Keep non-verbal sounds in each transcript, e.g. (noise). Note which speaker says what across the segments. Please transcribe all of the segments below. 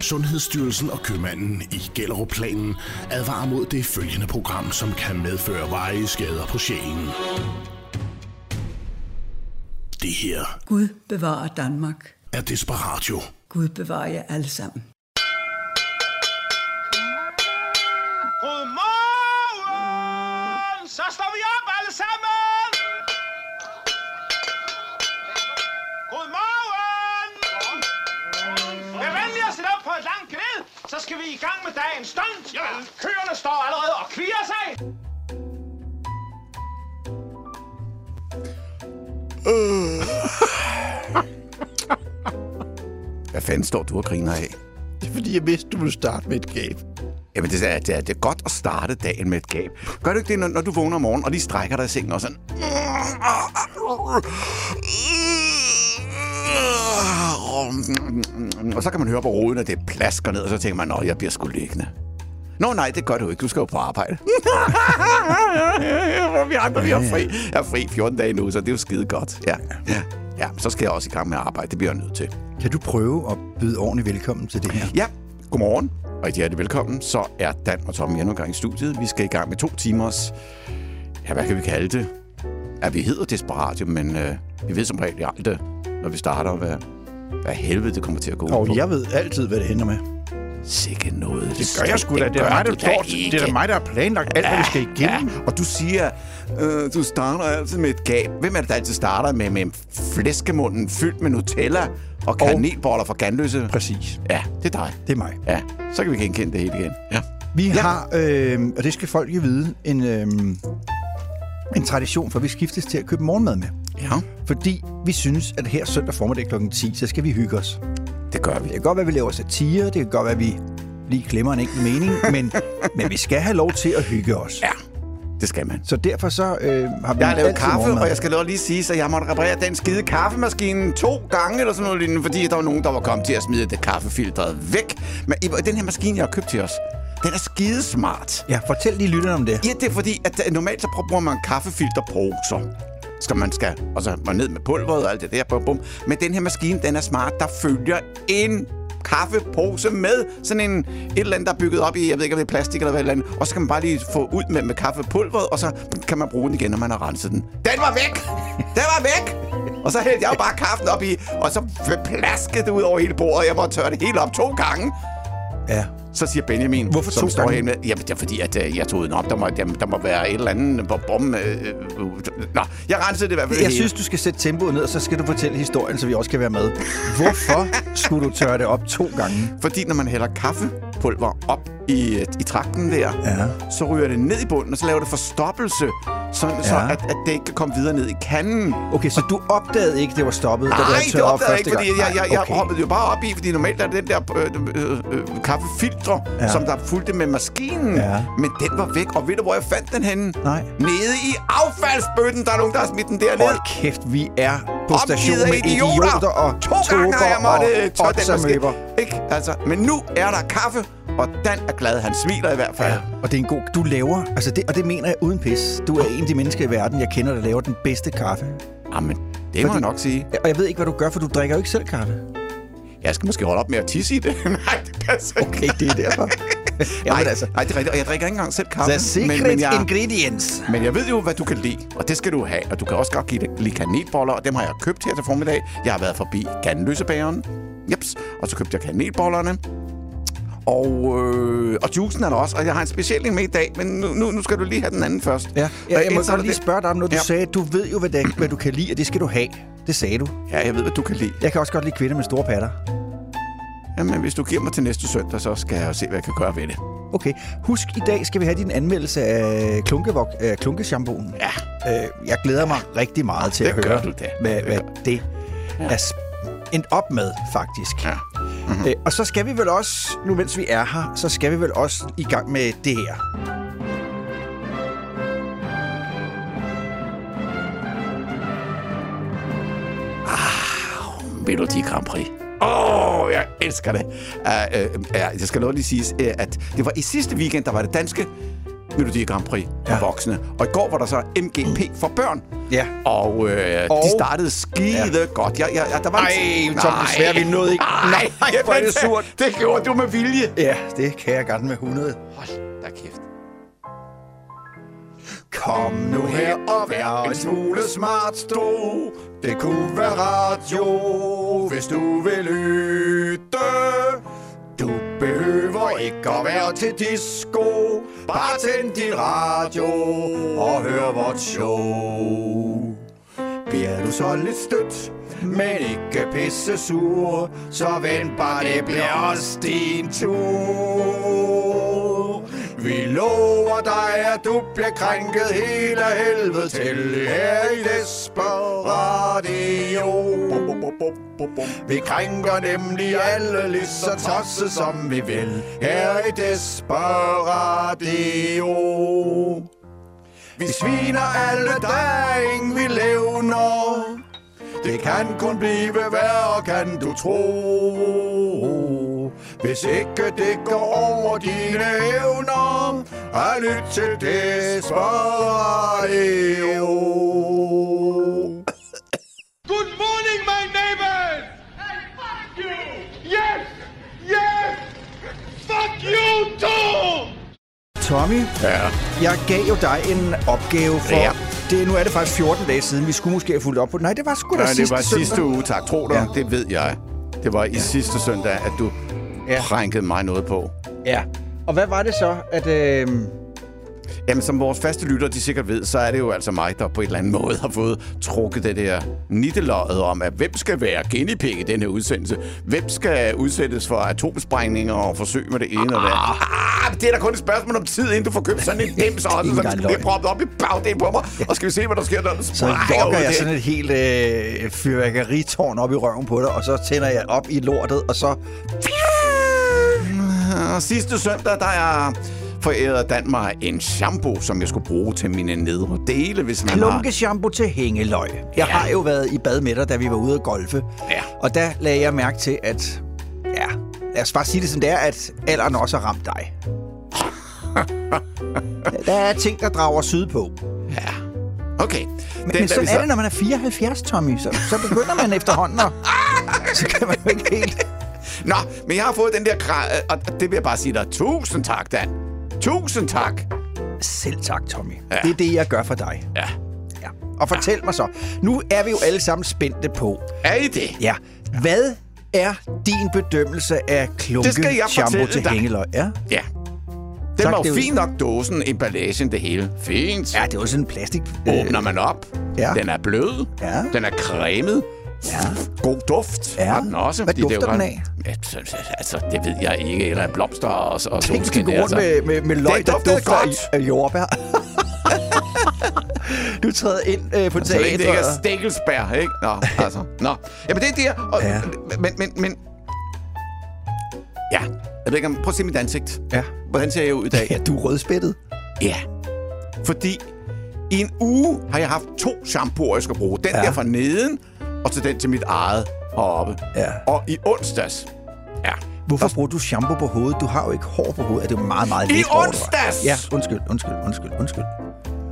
Speaker 1: Sundhedsstyrelsen og købmanden i Gellerup-planen advarer mod det følgende program, som kan medføre veje skader på sjælen. Det her
Speaker 2: Gud bevarer Danmark.
Speaker 1: er Desperatio.
Speaker 2: Gud bevarer jer alle sammen.
Speaker 3: Godmorgen! Så står vi op alle sammen! Godmorgen! Vær venlig at sætte op på et langt gnid, så skal vi i gang med dagens stunt. Ja. Køerne står allerede og kvier sig.
Speaker 4: Hvad fanden står du og griner af?
Speaker 5: Det er fordi, jeg vidste, du ville starte med et gab.
Speaker 4: Jamen, det er, det, er, det er godt at starte dagen med et gab. Gør du ikke det, når, når du vågner om morgenen og lige strækker dig i sengen og sådan... Og så kan man høre på roden, at det plasker ned, og så tænker man, nå, jeg bliver sgu liggende. Nå nej, det gør du ikke. Du skal jo på arbejde. (laughs) vi andre, vi har fri. Jeg er fri 14 dage nu, så det er jo skide godt. Ja. ja. Ja, så skal jeg også i gang med at arbejde. Det bliver jeg nødt til.
Speaker 5: Kan du prøve at byde ordentligt velkommen til det her?
Speaker 4: Ja, godmorgen. Rigtig hjertelig velkommen. Så er Dan og Tom endnu en gang i studiet. Vi skal i gang med to timers... Ja, hvad kan vi kalde det? Ja, vi hedder Desperatio, men øh, vi ved som regel alt det, når vi starter, hvad, hvad helvede det kommer til at gå ud på.
Speaker 5: Og jeg ved altid, hvad det ender med.
Speaker 4: Sikke noget. Det,
Speaker 5: gør jeg sgu da. Det er mig, der
Speaker 4: du
Speaker 5: står-
Speaker 4: ikke.
Speaker 5: det er da mig, der har planlagt alt, hvad vi skal igennem.
Speaker 4: Ja, og du siger, øh, du starter altid med et gab. Hvem er det, der altid starter med, med en flæskemunden fyldt med Nutella og kanelboller fra Ganløse?
Speaker 5: Præcis.
Speaker 4: Ja, det er dig.
Speaker 5: Det er mig.
Speaker 4: Ja, så kan vi genkende det hele igen. Ja.
Speaker 5: Vi
Speaker 4: Ja.
Speaker 5: ja. har, øh, og det skal folk jo vide, en, øh, en tradition, for vi skiftes til at købe morgenmad med.
Speaker 4: Ja,
Speaker 5: Fordi vi synes, at her søndag formiddag kl. 10, så skal vi hygge os.
Speaker 4: det gør vi.
Speaker 5: Det kan godt være, at vi laver satire, det kan godt være, at vi lige klemmer en enkelt
Speaker 4: (laughs)
Speaker 5: mening, men, men vi skal have lov til at hygge os.
Speaker 4: Ja, det skal man.
Speaker 5: Så derfor så øh, har vi
Speaker 4: Jeg har lavet
Speaker 5: altid
Speaker 4: kaffe,
Speaker 5: morgenmad.
Speaker 4: og jeg skal lov lige sige, at jeg måtte reparere den skide kaffemaskine to gange eller sådan noget lignende, fordi der var nogen, der var kommet til at smide det kaffefiltret væk. Men i- den her maskine, jeg har købt til os, den er skidesmart.
Speaker 5: Ja, fortæl lige lytterne om det.
Speaker 4: Ja, det er fordi, at øh, normalt så bruger man kaffefilterposer. Skal man skal, og så man ned med pulveret og alt det der. Bum, bum. Men den her maskine, den er smart. Der følger en kaffepose med. Sådan en, et eller andet, der er bygget op i, jeg ved ikke, om det er plastik eller hvad eller andet. Og så kan man bare lige få ud med, med kaffepulveret, og så kan man bruge den igen, når man har renset den. Den var væk! Den var væk! Og så hældte jeg jo bare kaffen op i, og så plaskede det ud over hele bordet. Jeg var tørre det hele op to gange.
Speaker 5: Ja.
Speaker 4: Så siger Benjamin,
Speaker 5: Hvorfor
Speaker 4: som
Speaker 5: to
Speaker 4: står
Speaker 5: gange?
Speaker 4: herinde, jamen det er fordi, at øh, jeg tog den op. Der må, der, der må være et eller andet på bom. Øh, øh, øh, Nå, jeg rensede det i hvert fald
Speaker 5: Jeg
Speaker 4: hele.
Speaker 5: synes, du skal sætte tempoet ned, og så skal du fortælle historien, så vi også kan være med. Hvorfor skulle du tørre det op to gange?
Speaker 4: Fordi når man hælder kaffepulver op i, øh, i trakten der,
Speaker 5: Ja.
Speaker 4: så ryger det ned i bunden, og så laver det forstoppelse, sådan, så
Speaker 5: Ja.
Speaker 4: at, at det ikke kan komme videre ned i kanden.
Speaker 5: Okay, så du opdagede ikke, det var stoppet, da du
Speaker 4: Nej,
Speaker 5: havde
Speaker 4: det
Speaker 5: tørret op
Speaker 4: opdagede jeg
Speaker 5: første
Speaker 4: ikke, fordi jeg,
Speaker 5: gang?
Speaker 4: jeg, jeg
Speaker 5: okay.
Speaker 4: hoppede jo bare op i, fordi normalt er det den der øh, øh, øh, kaffefiltre, ja.
Speaker 5: Ja.
Speaker 4: som der fulgte med maskinen,
Speaker 5: Ja.
Speaker 4: men den var væk. Og ved du, hvor jeg fandt den henne?
Speaker 5: Nej.
Speaker 4: Nede i affaldsbøtten. Der er nogen, der har smidt den derned.
Speaker 5: Hold kæft, vi er på station
Speaker 4: Opgivet af
Speaker 5: med idioter, og
Speaker 4: to gange har jeg måtte øh,
Speaker 5: toker
Speaker 4: tørre
Speaker 5: og
Speaker 4: den maskine.
Speaker 5: otsermøber.
Speaker 4: Ikke? Altså, men nu er der kaffe, og Dan er glad. Han smiler i hvert fald.
Speaker 5: Ja, og det er en god... Du laver... Altså det, og det mener jeg uden pis. Du er en af de mennesker i verden, jeg kender, der laver den bedste kaffe.
Speaker 4: Jamen, det må
Speaker 5: Fordi-
Speaker 4: jeg nok sige.
Speaker 5: Og jeg ved ikke, hvad du gør, for du drikker jo ikke selv kaffe.
Speaker 4: Jeg skal måske holde op med at tisse i det. (laughs) Nej, det passer ikke.
Speaker 5: Okay, det er
Speaker 4: (laughs)
Speaker 5: derfor.
Speaker 4: Nej,
Speaker 5: Jamen altså...
Speaker 4: nej, det er rigtigt. Og jeg drikker ikke engang selv kaffe.
Speaker 5: The secret
Speaker 4: men, men jeg,
Speaker 5: ingredients.
Speaker 4: Men jeg ved jo, hvad du kan lide, og det skal du have. Og du kan også godt give det- lide kanelboller, og dem har jeg købt her til formiddag. Jeg har været forbi Ganløsebæren. Jeps. Og så købte jeg kanelbollerne. Og, øh, og juicen er der også, og jeg har en speciel en med i dag, men nu, nu, nu skal du lige have den anden først.
Speaker 5: Ja, ja
Speaker 4: Og
Speaker 5: jeg må
Speaker 4: ellers er
Speaker 5: godt
Speaker 4: der
Speaker 5: lige
Speaker 4: det-
Speaker 5: spørge dig om noget. Du
Speaker 4: Ja.
Speaker 5: ja. sagde, du ved jo, hvad, det, hvad du kan lide, og det skal du have. Det sagde du.
Speaker 4: Ja, jeg ved, hvad du kan lide.
Speaker 5: Jeg kan også godt lide kvinder med store patter.
Speaker 4: Jamen, hvis du giver mig til næste søndag, så skal jeg se, hvad jeg kan gøre ved det.
Speaker 5: Okay, husk, i dag skal vi have din anmeldelse af klunkevok, øh, klunkeshampoen.
Speaker 4: Ja.
Speaker 5: Øh, jeg glæder mig rigtig meget til
Speaker 4: Det
Speaker 5: at
Speaker 4: gør
Speaker 5: høre,
Speaker 4: du da.
Speaker 5: hvad,
Speaker 4: Det
Speaker 5: hvad det er sp- endt op med, faktisk.
Speaker 4: Ja.
Speaker 5: Mm-hmm. Øh, og så skal vi vel også, nu mens vi er her, så skal vi vel også i gang med det her.
Speaker 4: Melodi Grand Prix. Åh, oh, jeg øh, elsker det. Uh, uh, uh, jeg skal lov lige sige, uh, at det var i sidste weekend, der var det danske Melodi Grand Prix for
Speaker 5: Ja.
Speaker 4: voksne. Og i går var der så MGP for børn.
Speaker 5: Ja.
Speaker 4: Og, øh, og...
Speaker 5: Og-
Speaker 4: de startede skide ja. godt. Jeg, jeg, jeg, der var en-
Speaker 5: Ej, Tom, desværre, vi nåede ikke.
Speaker 4: Nej,
Speaker 5: Nej, hvor er det
Speaker 4: men
Speaker 5: surt.
Speaker 4: Det gjorde du med vilje.
Speaker 5: Ja, det kan jeg gerne med 100.
Speaker 4: Hold da kæft.
Speaker 5: Kom
Speaker 4: Nu her og vær en smule smart stå. Det kunne være radio, hvis du vil lytte. Du behøver ikke at være til disco. Bare tænd din radio og hør vores show. Bliver du så lidt stødt, men ikke pisse sur, så vent bare, det bliver også din tur. Vi lover dig, at du bliver krænket hele helvede til her i Desperadio. Vi krænker nemlig alle lige så tosset, som vi vil her i Desperadio. Vi sviner alle dreng, vi levner. Det kan kun blive værre, kan du tro. Hvis ikke det går over dine evner, er lyt til Desperatio.
Speaker 3: Good morning, my neighbors! Hey, fuck you! Yes! Yes! Fuck you too!
Speaker 5: Tommy, ja. jeg gav jo dig en opgave for...
Speaker 4: Ja.
Speaker 5: Ja. Det, nu er det faktisk 14 dage siden, vi skulle måske have fulgt op på den. Nej, det var sgu da
Speaker 4: Nej, det
Speaker 5: sidste
Speaker 4: var
Speaker 5: søndag.
Speaker 4: sidste uge, tak. Tro dig, ja. det ved jeg. Det var i ja. sidste søndag, at du ja.
Speaker 5: Ja.
Speaker 4: prænkede mig noget på.
Speaker 5: Ja. Og hvad var det så, at... Øh...
Speaker 4: Jamen, som vores faste lytter, de sikkert ved, så er det jo altså mig, der på en eller anden måde har fået trukket det der nitteløjet om, at hvem skal være guinea-pig i den her udsendelse? Hvem skal udsættes for atomsprængninger og forsøg med det ene og det andet? Ah, det er da kun et spørgsmål om tid, inden du får købt sådan en dims også, så den
Speaker 5: engang
Speaker 4: skal blive
Speaker 5: løgn.
Speaker 4: proppet op i bagdelen på mig. Og skal vi se, hvad der sker, når den
Speaker 5: Så
Speaker 4: sprænger
Speaker 5: jokker
Speaker 4: ud
Speaker 5: jeg
Speaker 4: der.
Speaker 5: sådan et helt øh, fyrværkeritårn op i røven på dig, og så tænder jeg op i lortet, og så...
Speaker 4: Og Ah, sidste søndag, der er forærede Danmark en shampoo, som jeg skulle bruge til mine nedre dele, hvis man har...
Speaker 5: Klunkeshampoo til hængeløg. Jeg ja. har jo været i bad med dig, da vi var ude at golfe.
Speaker 4: Ja.
Speaker 5: Og der lagde jeg mærke til, at... Ja, lad os bare sige det sådan der, at alderen også har ramt
Speaker 4: (laughs)
Speaker 5: dig. (laughs) der er ting, der drager syd på.
Speaker 4: Okay.
Speaker 5: Men, men sådan er det, når man er 74, Tommy. Så, så begynder
Speaker 4: (laughs)
Speaker 5: man efterhånden at... Så kan man jo ikke helt...
Speaker 4: Nå, men jeg har fået den der grad, og det vil jeg bare sige dig. Tusind tak, Dan. Tusind tak.
Speaker 5: Selv tak, Tommy.
Speaker 4: Ja.
Speaker 5: Ja. Det er det, jeg gør for dig.
Speaker 4: Ja.
Speaker 5: Ja. Og fortæl mig så. Nu er vi jo alle sammen spændte på.
Speaker 4: Er I det?
Speaker 5: Ja. Hvad er din bedømmelse af klunke
Speaker 4: Det skal jeg
Speaker 5: shampoo
Speaker 4: fortælle
Speaker 5: til
Speaker 4: dig.
Speaker 5: hængeløg? Ja.
Speaker 4: ja. Den
Speaker 5: Tak,
Speaker 4: var
Speaker 5: det
Speaker 4: jo
Speaker 5: er jo-
Speaker 4: fin nok, dåsen, emballagen, det hele. Fint.
Speaker 5: ja, det er jo sådan en plastik... øh,
Speaker 4: Åbner man op.
Speaker 5: ja.
Speaker 4: Den er blød.
Speaker 5: Ja.
Speaker 4: Den er cremet. Ja. God duft
Speaker 5: Ja.
Speaker 4: har den også.
Speaker 5: Hvad
Speaker 4: fordi det er jo
Speaker 5: dufter den
Speaker 4: grøn- Ja, Altså, det ved jeg ikke. Eller blomster og, og
Speaker 5: Tænk, du
Speaker 4: solskin. altså-
Speaker 5: gå rundt med, med, med løg,
Speaker 4: Det
Speaker 5: der
Speaker 4: duftede
Speaker 5: dufter
Speaker 4: godt.
Speaker 5: af-
Speaker 4: (laughs)
Speaker 5: af jordbær. du træder ind øh, på
Speaker 4: Så længe Altså, det ikke er
Speaker 5: teatret.
Speaker 4: stikkelsbær, ikke? Nå, altså. Nå. Jamen, det er der. Og, ja.
Speaker 5: Ja.
Speaker 4: Men, men, men... Ja. Jeg ved ikke, om... Prøv at se mit ansigt.
Speaker 5: Ja.
Speaker 4: Hvordan ser jeg ud i dag?
Speaker 5: Ja, du er rødspættet.
Speaker 4: Ja. Fordi i en uge har jeg haft to shampooer, jeg skal bruge. Den ja.
Speaker 5: Ja.
Speaker 4: der fra neden, og så den til mit eget heroppe.
Speaker 5: Ja.
Speaker 4: Og i onsdags... Ja.
Speaker 5: Hvorfor bruger du shampoo på hovedet? Du har jo ikke hår på hovedet. Er det er jo meget, meget
Speaker 4: I
Speaker 5: lidt hår, du har.
Speaker 4: onsdags!
Speaker 5: Ja, undskyld, undskyld, undskyld, undskyld.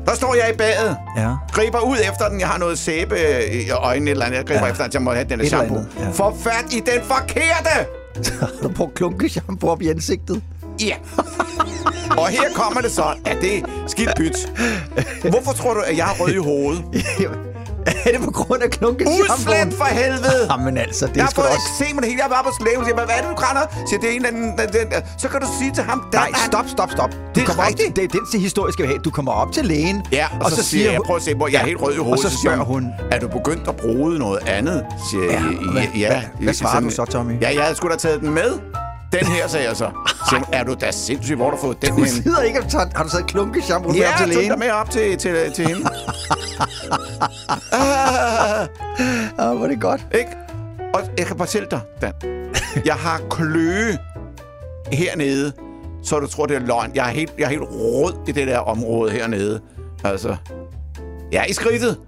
Speaker 4: Der står jeg i badet.
Speaker 5: Ja.
Speaker 4: Griber ud efter den. Jeg har noget sæbe øh, i øjnene eller andet. Jeg griber ja.
Speaker 5: Ja.
Speaker 4: efter, at jeg må have den der
Speaker 5: Et eller
Speaker 4: shampoo.
Speaker 5: andet, ja.
Speaker 4: Få fat i den forkerte!
Speaker 5: Har (laughs) du brugt klunke shampoo op i ansigtet?
Speaker 4: Ja. Og her kommer det så, at det er skidt pyt. Hvorfor tror du, at jeg er rød i hovedet?
Speaker 5: (laughs) er det på grund af klunke
Speaker 4: Udslet for helvede!
Speaker 5: (laughs) Jamen altså, det
Speaker 4: Jeg
Speaker 5: er
Speaker 4: har
Speaker 5: sgu da
Speaker 4: fået
Speaker 5: også...
Speaker 4: eksem med det hele. Jeg var på slæben og siger, hvad er det, du grænder? Siger, det er en eller anden... den- den- den." Så kan du sige til ham... "Dan,
Speaker 5: Nej,
Speaker 4: han-
Speaker 5: stop, stop, stop. Du
Speaker 4: Det er
Speaker 5: kommer
Speaker 4: rigtigt.
Speaker 5: Op, det er den til historie, skal vi have. Du kommer op til lægen,
Speaker 4: Ja, og, og så, så siger jeg,
Speaker 5: hun-
Speaker 4: prøv at se, hvor jeg er helt rød i hovedet.
Speaker 5: Og så
Speaker 4: siger
Speaker 5: spørger hun,
Speaker 4: er du begyndt at bruge noget andet? Siger
Speaker 5: Ja,
Speaker 4: jeg,
Speaker 5: og hvad- hvad- hvad svarer
Speaker 4: sådan-
Speaker 5: du så, Tommy?
Speaker 4: Ja, jeg havde sgu da taget den med. Den her, sagde
Speaker 5: (laughs)
Speaker 4: jeg så. Siger hun, er du da sindssyg, hvor har du fået den
Speaker 5: du
Speaker 4: henne?"
Speaker 5: sidder ikke og tager... Har du taget klunke shampoo
Speaker 4: Ja,
Speaker 5: op til
Speaker 4: jeg tog
Speaker 5: lægen?
Speaker 4: dig med op til, til, til
Speaker 5: (laughs)
Speaker 4: hende.
Speaker 5: Ja, Ah, hvor er det godt.
Speaker 4: Ikke? Og jeg kan fortælle dig, Dan. Jeg har kløe hernede, så du tror, det er løgn. Jeg er helt, jeg er helt rød i det der område hernede. Altså, jeg er i skridtet.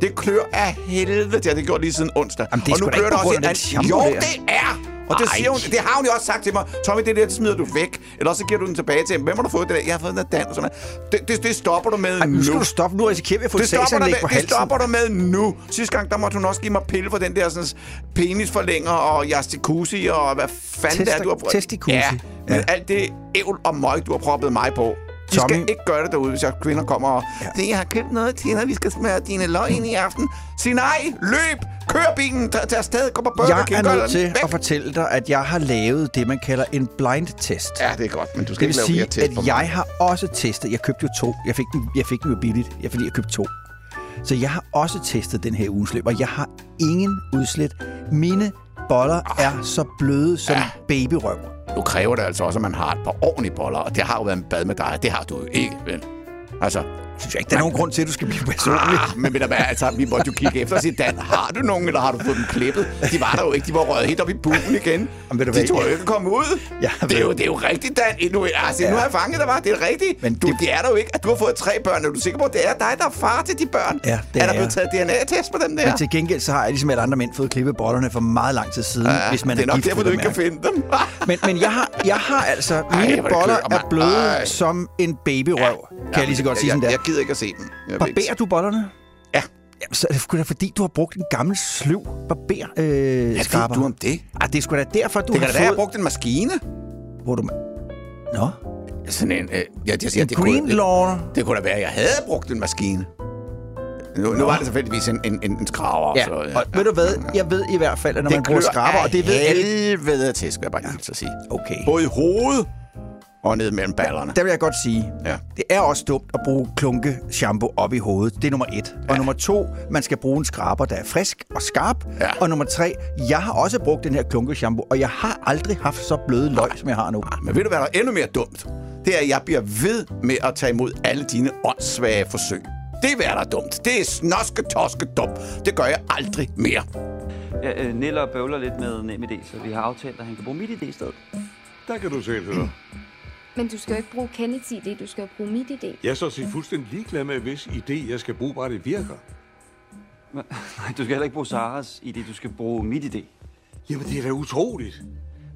Speaker 4: Det klør af helvede. Det har det gjort lige siden onsdag.
Speaker 5: Jamen, det er
Speaker 4: og
Speaker 5: sgu da ikke på grund af den
Speaker 4: en- Jo,
Speaker 5: shampoo der.
Speaker 4: det er! Og det,
Speaker 6: Ej.
Speaker 4: siger hun, det har hun jo også sagt til mig. Tommy, det der, det smider du væk. Eller også så giver du den tilbage til ham. Hvem har du fået det der? Jeg har fået den af Dan. og Sådan noget. det, det, det, stopper du med
Speaker 5: Ej, nu skal
Speaker 4: nu.
Speaker 5: du stoppe. Nu risikerer vi at få et
Speaker 4: Det stopper, du
Speaker 5: sagsanlæg på
Speaker 4: med, det
Speaker 5: halsen.
Speaker 4: stopper du med nu. Sidste gang, der måtte hun også give mig pille for den der sådan, penisforlænger og jastikusi og hvad fanden det er,
Speaker 5: Testa-
Speaker 4: du har prøvet.
Speaker 5: testikusi.
Speaker 4: Ja, men
Speaker 5: Ja.
Speaker 4: ja. alt det ævl og møg, du har proppet mig på. De
Speaker 5: Tommy-
Speaker 4: skal ikke gøre det derude, hvis jeg kvinder kommer og... Ja. Jeg har købt noget til dig, vi skal smøre dine løg ind i aften. Sig nej, løb, kør bilen, tag, tag afsted, gå på Burger
Speaker 5: Jeg
Speaker 4: King, gør
Speaker 5: er nødt
Speaker 4: den
Speaker 5: til
Speaker 4: væk.
Speaker 5: at fortælle dig, at jeg har lavet det, man kalder en blind test.
Speaker 4: Ja, det er godt, men du skal
Speaker 5: Det vil
Speaker 4: ikke lave flere
Speaker 5: sige,
Speaker 4: test for
Speaker 5: at jeg har også testet. Jeg købte jo to. Jeg fik dem, jeg fik dem jo billigt, jeg, fordi jeg købte to. Så jeg har også testet den her ugenslip, og jeg har ingen udslæt. Mine boller
Speaker 4: Ah,
Speaker 5: er så bløde som
Speaker 4: Ja.
Speaker 5: babyrøv.
Speaker 4: mig. Nu kræver det altså også, at man har et par ordentlige boller, og det har jo været en bad med dig. Det har du jo ikke, vel? Altså,
Speaker 5: Synes jeg ikke, der er nogen grund til, at du skal blive personlig.
Speaker 4: Ah, men ved du hvad, altså, vi måtte jo kigge efter og sige, Dan, har du nogen, eller har du fået dem klippet? De var der jo ikke, de var røget helt op i bukken igen.
Speaker 5: Men ved du
Speaker 4: de
Speaker 5: hvad,
Speaker 4: tog jo
Speaker 5: ja.
Speaker 4: ikke at komme ud.
Speaker 5: Ja,
Speaker 4: det, er
Speaker 5: ved-
Speaker 4: jo, det er jo rigtigt, Dan. Endnu, altså, ja. nu
Speaker 5: Ja.
Speaker 4: har jeg fanget dig, var. Det er rigtigt. Men
Speaker 5: Men
Speaker 4: du, det...
Speaker 5: det-
Speaker 4: det... er der jo ikke, at du har fået tre børn. Er du sikker på, at det er dig, der er far til de børn?
Speaker 5: Ja, det
Speaker 4: er der
Speaker 5: er
Speaker 4: blevet taget DNA-test på dem der?
Speaker 5: Men til gengæld så har jeg ligesom alle andre mænd fået klippet bollerne for meget lang tid siden,
Speaker 4: Ja,
Speaker 5: hvis man
Speaker 4: det er nok
Speaker 5: gift,
Speaker 4: derfor,
Speaker 5: vel
Speaker 4: du
Speaker 5: at
Speaker 4: ikke kan
Speaker 5: mærke.
Speaker 4: finde dem. (laughs)
Speaker 5: Men, men jeg, har, jeg har altså... Mine
Speaker 4: hvor det
Speaker 5: boller
Speaker 4: klør mig.
Speaker 5: er bløde
Speaker 4: Ej.
Speaker 5: som en babyrøv, kan jeg lige så godt sige,
Speaker 4: jeg,
Speaker 5: som det
Speaker 4: jeg,
Speaker 5: er.
Speaker 4: jeg gider ikke at se dem. Jeg ved
Speaker 5: Barberer
Speaker 4: ikke.
Speaker 5: du bollerne?
Speaker 4: Ja.
Speaker 5: Jamen, så er det sgu da fordi, du har brugt en gammel sløv barber øh,
Speaker 4: Hvad ved du om det?
Speaker 5: Ah, det er sgu da derfor, du
Speaker 4: Det
Speaker 5: har
Speaker 4: kan da være, jeg
Speaker 5: fået...
Speaker 4: har brugt en maskine.
Speaker 5: Hvor du... Nå?
Speaker 4: Sådan en... Øh, jeg, jeg siger,
Speaker 5: en
Speaker 4: det kunne-
Speaker 5: green
Speaker 4: det-
Speaker 5: lawn.
Speaker 4: Det kunne da være, at jeg havde brugt en maskine. Nu, nu var det tilfældigvis en, en, en, en skraber.
Speaker 5: Ja,
Speaker 4: så,
Speaker 5: og ved du hvad? Jeg ved i hvert fald, at når man bruger skraber, og det ved alle...
Speaker 4: helvede til, skal jeg bare hilse at sige.
Speaker 5: Okay.
Speaker 4: Både i hovedet og ned mellem ballerne.
Speaker 5: Der vil jeg godt sige,
Speaker 4: Ja.
Speaker 5: ja. det er også dumt at bruge klunke shampoo op i hovedet. Det er nummer et. Ja. Og nummer to, man skal bruge en skraber, der er frisk og skarp.
Speaker 4: Ja.
Speaker 5: Og nummer tre, jeg har også brugt den her klunke shampoo, og jeg har aldrig haft så bløde løg, som jeg har nu.
Speaker 4: Ah, Men ved du, hvad der er endnu mere dumt? Det er, at jeg bliver ved med at tage imod alle dine åndssvage forsøg. Det er, hvad der er dumt. Det er snoske toske dumt. Det gør jeg aldrig mere.
Speaker 7: Ja, øh, Niller bøvler lidt med nem idé, så vi har aftalt, at han kan bruge mit idé i stedet.
Speaker 8: Der kan du selv høre.
Speaker 9: Men du skal jo ikke bruge Kenneths idé, du skal jo bruge mit idé.
Speaker 8: Jeg er så set fuldstændig ligeglad med, hvis idé, jeg skal bruge, bare det virker.
Speaker 7: Men- Nej, du skal heller ikke bruge Saras idé, du skal bruge mit idé.
Speaker 8: Jamen, det er da utroligt.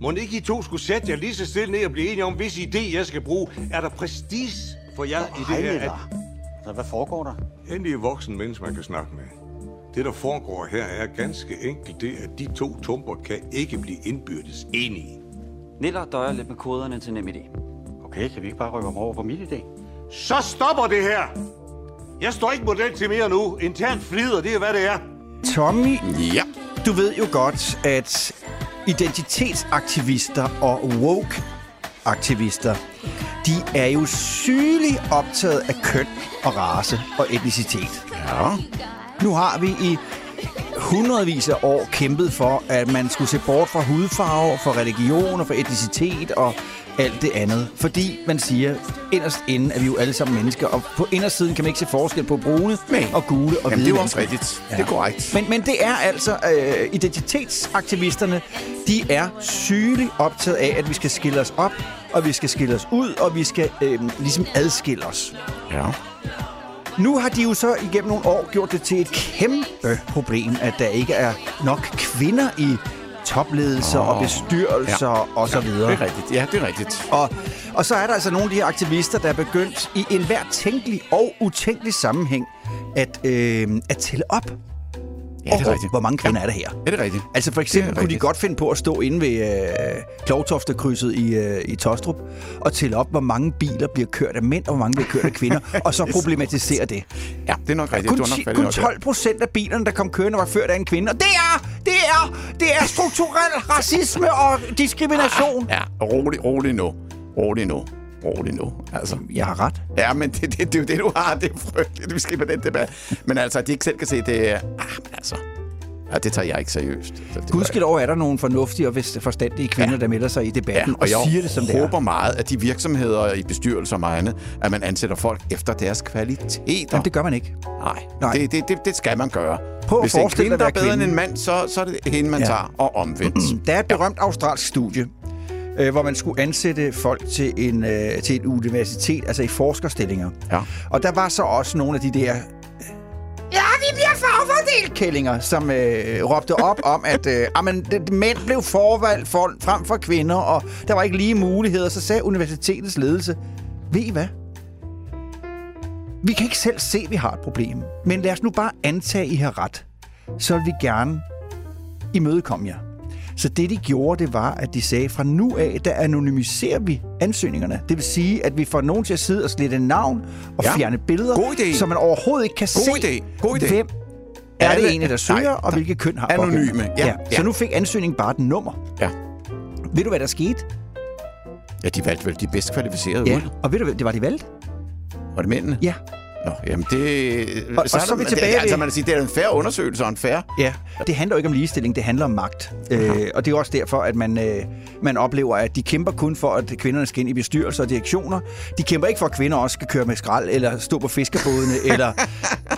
Speaker 8: Må ikke I to skulle sætte jer lige så stille ned og blive enige om, hvis idé, jeg skal bruge, er der prestige for jer i det her? At...
Speaker 6: Så hvad foregår der?
Speaker 8: Endelig er voksen menneske, man kan snakke med. Det, der foregår her, er ganske enkelt det, at de to tumper kan ikke blive indbyrdes enige.
Speaker 7: Niller døjer lidt med koderne til nem idé.
Speaker 6: Okay, kan vi ikke bare rykke ham over på mit idé?
Speaker 8: Så stopper det her! Jeg står ikke model til mere nu. Internt flider, det er, hvad det er.
Speaker 5: Tommy,
Speaker 4: Ja.
Speaker 5: du ved jo godt, at identitetsaktivister og woke-aktivister, de er jo sygeligt optaget af køn og race og etnicitet.
Speaker 4: Ja.
Speaker 5: Nu har vi i hundredvis af år kæmpet for, at man skulle se bort fra hudfarve, fra religion og fra etnicitet og alt det andet. Fordi man siger, inderst inden er vi jo alle sammen mennesker, og på indersiden kan man ikke se forskel på brune
Speaker 4: Nej.
Speaker 5: og gule og
Speaker 4: Jamen,
Speaker 5: hvide
Speaker 4: det er jo også
Speaker 5: mennesker.
Speaker 4: rigtigt. Det er korrekt.
Speaker 5: Men, men det er altså, øh, identitetsaktivisterne, de er sygeligt optaget af, at vi skal skille os op, og vi skal skille os ud, og vi skal øh, ligesom adskille os.
Speaker 4: Ja.
Speaker 5: Nu har de jo så igennem nogle år gjort det til et kæmpe problem, at der ikke er nok kvinder i topledelser oh, og bestyrelser ja. og så videre.
Speaker 4: Det er rigtigt. Ja, det er rigtigt.
Speaker 5: Og, og så er der altså nogle af de her aktivister, der er begyndt i enhver tænkelig og utænkelig sammenhæng at, øh, at tælle op
Speaker 4: Ja, det er
Speaker 5: over,
Speaker 4: rigtigt.
Speaker 5: hvor mange kvinder ja. er der her.
Speaker 4: Er det rigtigt?
Speaker 5: Altså for
Speaker 4: Det
Speaker 5: eksempel
Speaker 4: er
Speaker 5: kunne de
Speaker 4: rigtigt.
Speaker 5: godt finde på at stå inde ved øh, Klovtoftekrydset i, øh, i Tostrup og tælle op, hvor mange biler bliver kørt af mænd, og hvor mange bliver kørt af kvinder,
Speaker 4: (laughs)
Speaker 5: og så problematisere det.
Speaker 4: Ja, det er nok rigtigt.
Speaker 5: Kun,
Speaker 4: du har nok
Speaker 5: ti-
Speaker 4: fat i
Speaker 5: kun
Speaker 4: noget der.
Speaker 5: 12 procent af bilerne, der kom kørende, var ført af en kvinde. Og det er, det er, det er
Speaker 4: (laughs)
Speaker 5: strukturel racisme og diskrimination.
Speaker 4: Ja, rolig, rolig nu. Rolig nu. Rolig nu. Altså,
Speaker 5: Jeg har ret.
Speaker 4: ja, men det, det, det, er jo det, du har. Det er frygteligt, vi skal på den debat. Men altså, at de ikke selv kan se det. Ah, men altså. Ja, det tager jeg ikke seriøst. Så det gør jeg.
Speaker 5: Gudskelov er der nogle fornuftige og vist- forstandige kvinder,
Speaker 4: Ja.
Speaker 5: ja. der melder sig i
Speaker 4: Ja,
Speaker 5: debatten ja,
Speaker 4: og jeg
Speaker 5: og siger det, som det
Speaker 4: håber
Speaker 5: er.
Speaker 4: meget, at de virksomheder i bestyrelser og andet, at man ansætter folk efter deres kvaliteter.
Speaker 5: Jamen, det gør man ikke.
Speaker 4: Nej,
Speaker 5: Nej.
Speaker 4: Det, det, det, det skal man gøre.
Speaker 5: Prøv at
Speaker 4: Hvis det er en
Speaker 5: forestille
Speaker 4: kvinde,
Speaker 5: dig
Speaker 4: der er
Speaker 5: at være
Speaker 4: bedre end
Speaker 5: kvinde.
Speaker 4: en mand, så, så er det hende, man ja.
Speaker 5: Ja. Mm-hmm.
Speaker 4: tager og omvendt.
Speaker 5: (clears throat) Der er et berømt australsk studie, øh, hvor man skulle ansætte folk til, en, øh, til et universitet, altså i forskerstillinger.
Speaker 4: Ja.
Speaker 5: Og der var så også nogle af de der... Ja, vi bliver farvet del kællinger, som øh, råbte op om, at øh, amen, det, mænd blev forvalgt for, frem for kvinder, og der var ikke lige muligheder. Så sagde universitetets ledelse, ved I hvad? Vi kan ikke selv se, at vi har et problem, men lad os nu bare antage, at I har ret. Så vil vi gerne imødekomme jer. Så det, de gjorde, det var, at de sagde, fra nu af, der anonymiserer vi ansøgningerne. Det vil sige, at vi får nogen til at sidde og slette navn og
Speaker 4: Ja.
Speaker 5: ja. fjerne billeder,
Speaker 4: God idé.
Speaker 5: så man overhovedet ikke kan
Speaker 4: God
Speaker 5: se,
Speaker 4: idé. God idé.
Speaker 5: hvem er
Speaker 4: Alle-
Speaker 5: det egentlig, der søger,
Speaker 4: Nej,
Speaker 5: og
Speaker 4: der-
Speaker 5: hvilket køn har
Speaker 4: Anonyme.
Speaker 5: pågældende.
Speaker 4: Ja,
Speaker 5: Ja.
Speaker 4: ja.
Speaker 5: Så nu fik ansøgningen bare et nummer.
Speaker 4: Ja.
Speaker 5: Ved du, hvad der skete?
Speaker 4: Ja, de valgte vel de bedst kvalificerede ud.
Speaker 5: Og ved du, hvad det var, de valgte?
Speaker 4: Var det mændene?
Speaker 5: Ja.
Speaker 4: Nå, jamen det...
Speaker 5: Og- og
Speaker 4: er
Speaker 5: så er vi
Speaker 4: det-
Speaker 5: tilbage
Speaker 4: det, altså,
Speaker 5: ved-
Speaker 4: man kan sige, det er en fair undersøgelse og en fair...
Speaker 5: Ja, det handler jo ikke om ligestilling, det handler om magt. Øh, og det er jo også derfor, at man, øh, man oplever, at de kæmper kun for, at kvinderne skal ind i bestyrelser og direktioner. De kæmper ikke for, at kvinder også skal køre med skrald, eller stå på
Speaker 4: (laughs)
Speaker 5: fiskebådene, eller...